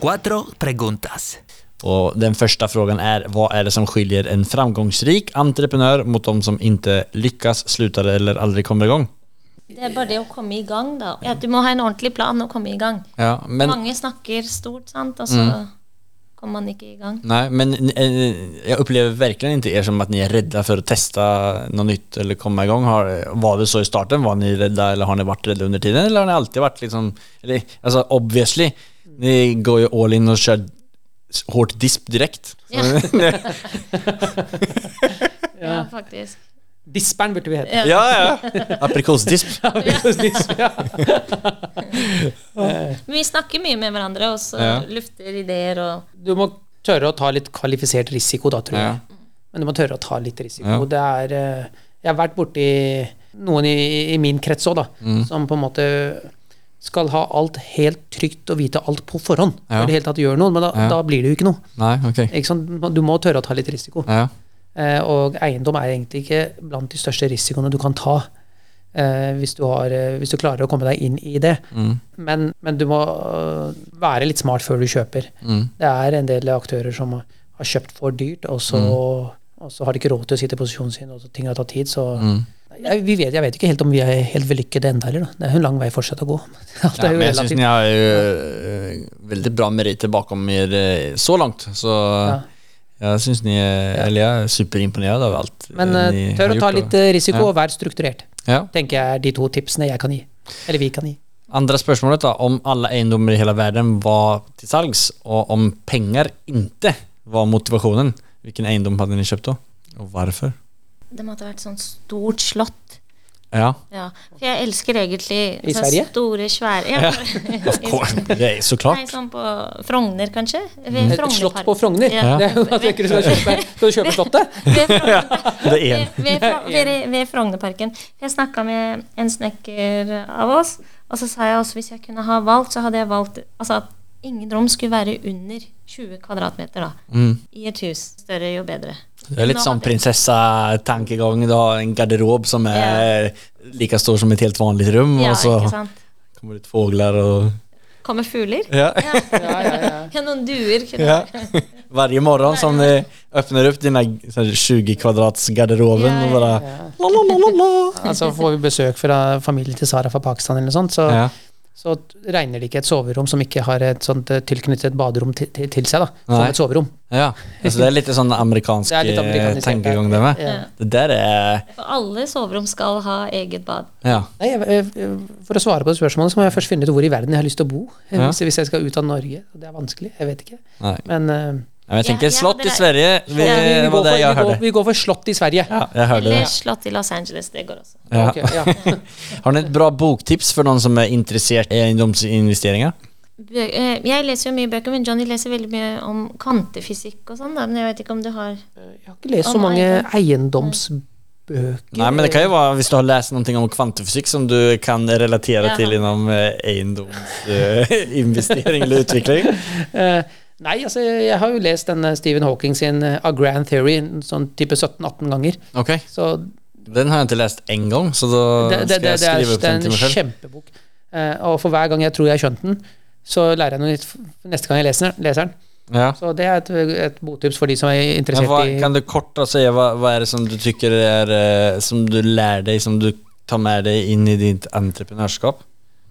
Cuatro preguntas.
Och den första frågan är, vad är det som skiljer en framgångsrik entreprenör mot de som inte lyckas, slutar eller aldrig kommer igång?
Det er bare det å komme i gang, da. At du må ha en ordentlig plan og komme i gang.
Ja, men,
Mange snakker stort, sant, og så kommer man ikke i gang.
nej, men eh, jag upplever verkligen inte er som att ni är rädda för att testa något nytt eller komma igång. Har, var det så i starten? Var ni rädda eller har ni varit rädda under tiden? Eller har ni alltid varit liksom, eller, alltså obviously, ni går ju all in och kör s- hårt disp direkt.
Ja. ja, faktisk.
Disperen burde vi hete.
Ja.
Ja, ja. Aprikosdisp.
Ja.
Men vi snakker mye med hverandre, og så
Ja.
lufter ideer og
Du må tørre å ta litt kvalifisert risiko, da, tror jeg.
Ja.
Men du må tørre å ta litt risiko.
Ja.
Det er, eh, jeg har vært borti noen i, i min krets òg, da,
Mm.
som på en måte skal ha alt helt trygt og vite alt på forhånd.
Ja.
For i det hele tatt gjør noe, men da,
Ja.
da blir det jo ikke noe.
Nej, okej.
Ikke sant? Du må tørre å ta litt risiko.
Ja.
Eh, og eiendom er egentlig ikke blant de største risikoene du kan ta eh, hvis, du har, eh, hvis du klarer å komme deg inn i det.
Mm.
Men, men du må øh, være litt smart før du kjøper.
Mm.
Det er en del aktører som har kjøpt for dyrt, og så,
Mm.
og så har de ikke råd til å sitte i posisjonen sin, og så ting har tatt tid, så jeg, vi vet, jeg vet ikke helt om vi er helt vellykkede ennå heller. da. Det er jo en lang vei fortsatt å gå. Alt
Ja,
er jo
men jeg syns
relativt.
ni har jo eh, veldig bra meritter bakom dere eh, så langt, så jeg syns ni eh, Eller jeg er superimponert over alt.
Men
eh,
eh,
ni har
tør å ta
gjort,
litt
da.
eh, risiko
Ja.
og være strukturert,
ja.
tenker jeg er de to tipsene jeg kan gi. Eller vi kan gi.
Andre spørsmålet, da. Om alle eiendommer i hele verden var til salgs, og om penger ikke var motivasjonen, hvilken eiendom hadde dere kjøpt da? Og hvorfor?
Det måtte ha vært sånn stort slott.
Ja,
Ja. For jeg elsker egentlig
I
sånne
Sverige?
store, svære ja.
of course. Det er så
Nei,
klart.
sånn på Frogner, kanskje? Ved
Mm. Et
Frognerparken.
slott på Frogner?
Ja.
Det er jo at jeg ikke skal kjøpe, skal du kjøpe slottet?
Ved Frogner.
Det er en.
ved, ved, Fro- ved, ved Frognerparken. Jeg snakka med en snekker av oss, og så sa jeg også hvis jeg kunne ha valgt, så hadde jeg valgt altså at ingen rom skulle være under 20 kvadratmeter da,
Mm.
i et hus. Større, jo bedre.
Det er litt
Nå
sånn
hadde-
prinsessa-tankegang. Du har en garderob som er like stor som et helt vanlig rom,
Ja,
og så
ikke sant.
kommer det ut fugler og
Kommer fugler?
Ja.
Ja, Noen duer? kunne-
Ja. Varje morgon som ni öppnar upp dina så här 20 kvadrats garderoben
Ja,
och
ja,
bara la, la, la, la, la.
Altså Får vi besøk fra familien til Sara fra Pakistan, eller noe sånt, så,
Ja.
så regner de ikke et soverom som ikke har et sånt eh, tilknyttet baderom til, til, til seg, da, som
Nei.
et soverom.
ja. Alltså Altså, det är lite sån amerikansk
Det är lite
eh,
amerikaniserat.
tankegång där med.
Ja.
Det där är,
For alle soverom skal ha eget bad.
ja.
Nei, jeg, jeg- for å svare på det spørsmålet, så må jeg først finne ut hvor i verden jeg har lyst til å bo. eh,
Ja.
Hvis, hvis jeg skal ut av Norge. og Det er vanskelig, jeg vet ikke.
Nei.
Men eh,
Men jag tänker
Ja, ja,
slott
det
i
där-
Sverige, vi,
vi, vi,
var
går
det
for,
jag
vi, går,
hørte
vi går for slott i Sverige.
Ja, jag hörde
Eller
det.
slott i Los Angeles. Det går også.
Ja.
Ok, ja.
Har ni ett bra boktips för någon som är intresserad i egendomsinvesteringar?
Bø eh, jeg leser jo mye bøker, men Johnny leser veldig mye om kvantefysikk og sånn. da, Men jeg vet ikke om du har
Jeg har ikke lest så mange eiendomsbøker.
Nej men det kan ju vara, om du har läst någonting om kvantfysik som du kan relatera
Ja.
eh, till inom egendomsinvestering eller utveckling.
Eh, Nei, altså, jeg har jo lest denne Stephen Hawking sin eh, A Grand Theory en sånn type 17-18 ganger.
Ok.
Så
Den har jeg ikke lest én gang, så da
det, det, det, det, er,
skal jeg skrive opp
det
den
er
til
en
meg selv.
kjempebok. Eh, og for hver gang jeg tror jeg har skjønt den, så lærer jeg noe nytt f- neste gang jeg leser den. Leser den.
Ja.
Så det er et, et boktips for de som er
Men
interessert
hva,
i
kan du kort da si hva, hva er det som du tykker er eh, Som du lærer deg, som du tar med deg inn i ditt entreprenørskap?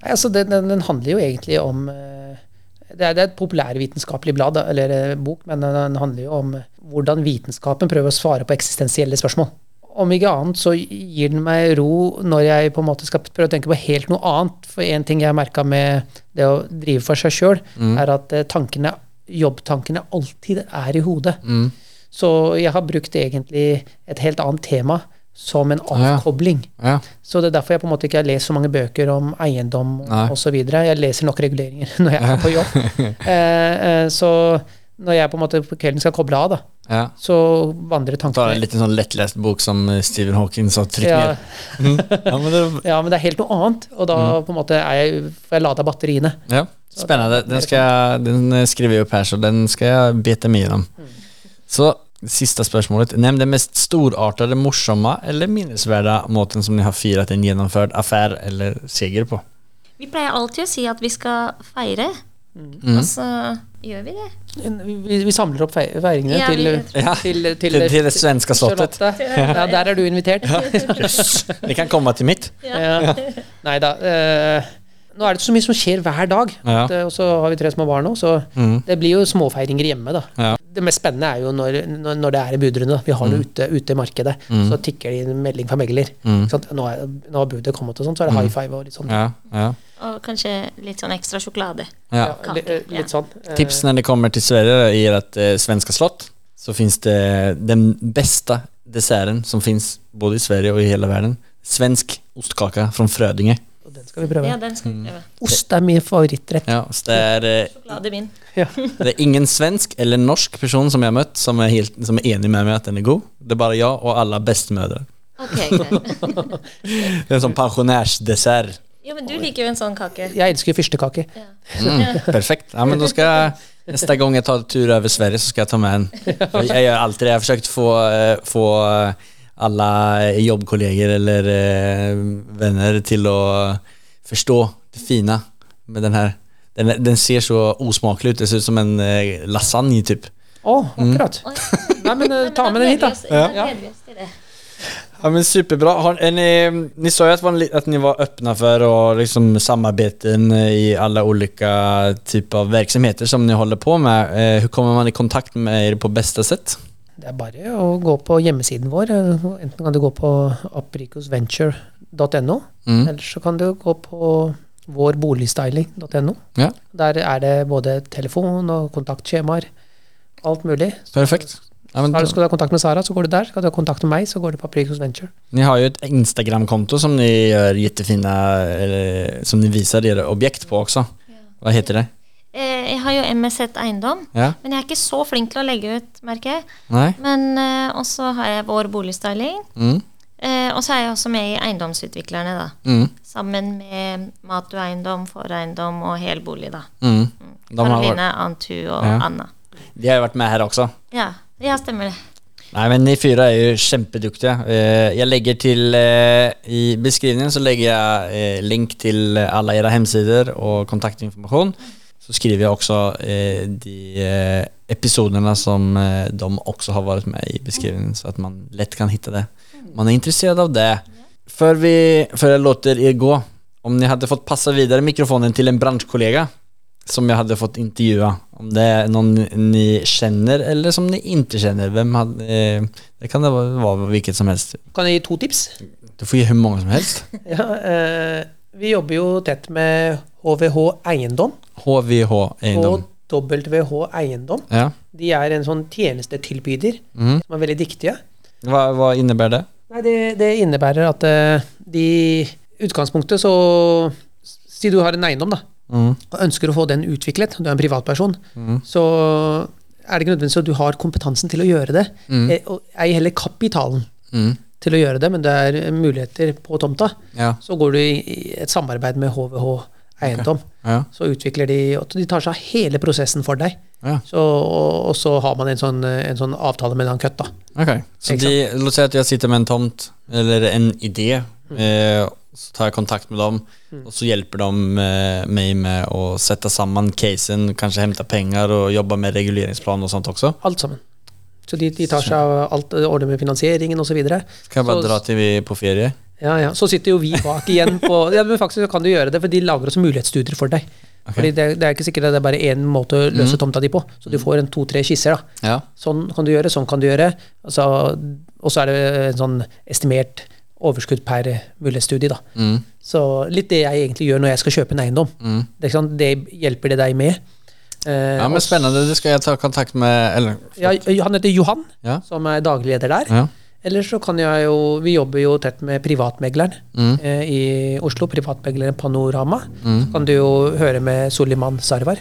Nei, altså, den, den, den handler jo egentlig om eh, Det er, det er et populærvitenskapelig blad, da, eller eh, bok, men den, den handler jo om hvordan vitenskapen prøver å svare på eksistensielle spørsmål. Om ikke annet så gir den meg ro når jeg på en måte skal prøve å tenke på helt noe annet. For én ting jeg merka med det å drive for seg sjøl, er at eh, tankene, jobbtankene alltid er i hodet. Så jeg har brukt egentlig et helt annet tema som en
ja.
avkobling.
Ja.
Så det er derfor jeg på en måte ikke har lest så mange bøker om eiendom
Nei.
osv. Jeg leser nok reguleringer når jeg er på jobb. eh, eh, så når jeg på en måte på kvelden skal koble av, da,
ja.
så vandrer
Ta en
tankene
liten sånn lettlest bok som eh, Stephen Hawking sa trykk
ja,
ned. Ja, men det,
ja, men det er helt noe annet, og da
Mm.
på en måte er jeg, får jeg lada batteriene.
ja. Spennende. Den, skal jeg, den eh, skriver jeg opp her, så den skal jeg bite meg gjennom. Så siste spørsmålet. Nevn den mest storartede, morsomme eller minnesverdige måten som dere har feiret en gjennomført affære eller seger på.
Vi pleier alltid å si at vi skal feire, og så gjør vi det.
Vi, vi samler opp fei- feiringene
Ja, vi-
til,
Ja.
til, til,
Til, til det svenske slottet.
Charlotte. Ja, der er du invitert.
Ni kan komme til mitt.
Ja. Nei da. eh, nå er det så mye som skjer hver dag.
Ja. Mm.
At, eh, og så har vi tre små barn nå, så det blir jo småfeiringer hjemme, da.
Ja. Mm.
Det mest spennende er jo når, når, når det er i budrunde. da. Vi har det ute, ute i markedet. Så tikker det inn melding fra megler. Ikke sant? Nå, er, nå har budet kommet, og sånt, så er det high five og litt sånn.
Mm. Ja, ja,
Og kanskje litt sånn ekstra sjokolade.
ja.
Ja, li- eh, litt sånn. Eh,
Tips når ni kommer til Sverige i ert eh, svenska slott, så finns det den bästa desserten som finns både i Sverige och i hela världen. Svensk ostkaka från Frödinge.
og den skal vi prøve.
Ja, den skal vi prøve.
Ost er min favorittrett.
Ja, så det, är, eh,
Sjokolade min.
det är ingen svensk eller norsk person som jag har mött som är, helt, som är enig med mig att den är god. Det är bara jag och alla bästmödrar.
Ok, greit.
Det är en sån pensionärsdessert.
Ja, men du liker jo en sånn kake.
Jeg elsker jo fyrstekake.
Ja.
Mm, Perfekt. Ja, men då ska jag, nästa gång jag tar tur över Sverige så ska jag ta med en. Jag, jag gör alltid det. Jag har försökt få, eh, få eh, alla eh, jobbkollegor eller eh, vänner till att förstå det fina med den här. Den, den ser så osmaklig ut. Det ser ut som en eh, lasagne typ.
Å, akkurat.
Oi.
Nei, men eh, ta
Da
med den hit,
gleder vi
da.
oss- Ja. da gleder vi oss til det.
Ja men superbra. Har, är ni, ni sa ju att, var en li- att ni var öppna för och liksom samarbeten i alla olika typer av verksamheter som ni håller på med. Eh, hur kommer man i kontakt med er på bästa sätt?
Det er bare å gå på hjemmesiden vår. Enten kan du gå på apricosventure.no,
Mm.
eller så kan du gå på vårboligstyling.no.
Ja,
Der er det både telefon og kontaktskjemaer. Alt mulig.
perfekt. Ja, men,
Har du, skal du ha kontakt med Sara, så går du der. Skal du ha kontakt med meg, så går du på Apricos Venture.
ni har ju ett Instagram-konto som ni gör jättefina, eller, som ni visar era objekt på också. Vad heter det?
Eh, Jeg har jo MSZ Eiendom,
Ja?
men jeg er ikke så flink til å legge ut, merker jeg.
Nej?
Men eh, også har jeg Vår Boligstyling.
Mm.
Eh, og så er jeg også med i Eiendomsutviklerne, da.
Mm.
Sammen med Matu Eiendom, For Eiendom og Helbolig, da.
Mm. De har, varit,
Karoline, Antu og
Ja.
Anna.
de har ju varit med här också.
Ja, ja, stemmer det.
Nei, men ni fyra er jo kjempeduktige. Eh, Jeg legger til eh, I beskrivningen så legger jeg eh, link til alle deres hjemmesider og kontaktinformasjon. Så skriver jeg også eh, de eh, episodene som eh, de også har vært med i beskrivningen, så at man lett kan finne det. Man er interessert av det. Før, vi, før jeg låter dere gå, om dere hadde fått passe videre mikrofonen til en bransjekollega som jeg hadde fått intervjua. Om det er noen ni kjenner, eller som ni ikke kjenner. Hvem hadde, eh, det kan det være være hvilket som helst.
Kan jeg gi to tips?
Du får gi hvor mange som helst.
Ja, eh, vi jobber jo tett med HVH Eiendom
HVH Eiendom.
og WH Eiendom.
Ja.
De er en sånn tjenestetilbyder
Mm.
som er veldig dyktige.
Hva, hva innebærer det?
Nei, det, det innebærer at eh, de I utgangspunktet så Si du har en eiendom, da,
Mm.
og ønsker å få den utviklet, du er en privatperson, så er det ikke nødvendigvis at du har kompetansen til å gjøre det. eh, Og ei heller kapitalen
Mm.
til å gjøre det, men det er eh, muligheter på tomta.
Ja.
Så går du i i et samarbeid med HVH Eiendom.
Ja.
Så utvikler de og De tar seg av hele prosessen for deg.
Ja.
Så, og, og så har man en sånn, eh, en sånn avtale med en køtt, da.
Okej. Så
Exakt.
de, låt säga att jag sitter med en tomt eller en idé. Eh, så tar jag kontakt med dem och så hjälper de eh, mig med att sätta samman casen, kanske hämta pengar och jobba med reguleringsplan och sånt också.
Alt sammen. Så de, de tar seg av alt, eh, ordner med finansieringen osv.
Kan jag bara
Så-
dra till vi är på ferie?
Ja, ja. Så sitter jo vi bak igjen på Ja, men faktisk så kan du gjøre det, for de lager også mulighetsstudier for deg. Fordi det, det er ikke sikkert at det er bare én måte å løse tomta di på, så du får en to-tre skisser. da.
Mhm. Ja.
Sånn kan du gjøre, sånn kan du gjøre. Altså, og så er det en sånn estimert overskudd per mulighetsstudie. Da.
Mhm.
Så litt det jeg egentlig gjør når jeg skal kjøpe en eiendom. Det, er ikke sant? det hjelper det deg med. Eh,
ja men
og-
spännande, det ska jag ta kontakt med, eller
Ja, han heter Johan,
Ja.
som er daglig leder der.
Ja.
Eller så kan jeg jo Vi jobber jo tett med privatmegleren
Mm.
eh, i Oslo. Privatmegleren Panorama. Så kan du jo høre med Soliman Sarwar,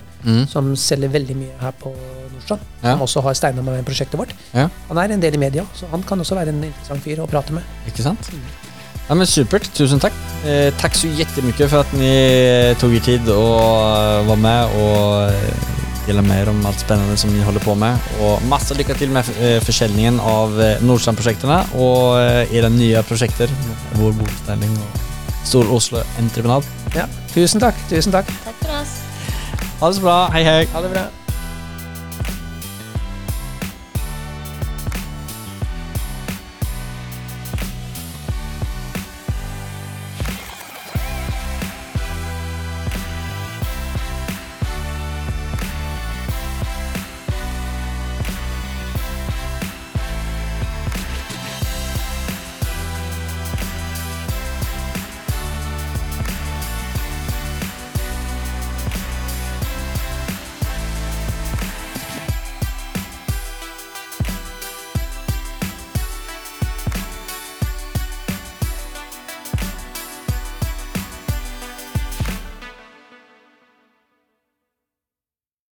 som selger veldig mye her på Nordstrand.
Mm. Ja.
Som også har steina med prosjektet vårt.
Ja.
Han er en del i media, så han kan også være en interessant fyr å prate med.
Ikke sant? Ja, men Supert. Tusen takk. Eh, takk så jättemycket för att ni eh, tog er tid och eh, var med och eh, delade med er om allt spännande som ni håller på med. Och massa lycka till med eh, försäljningen av eh, Nordstrandprojekten och eh, era nya projekter. Vår bokställning och Stor Oslo Entreprenad.
Ja. Tusen takk. Tusen takk.
Takk for oss.
Ha det så bra. Hej hej!
Ha det bra.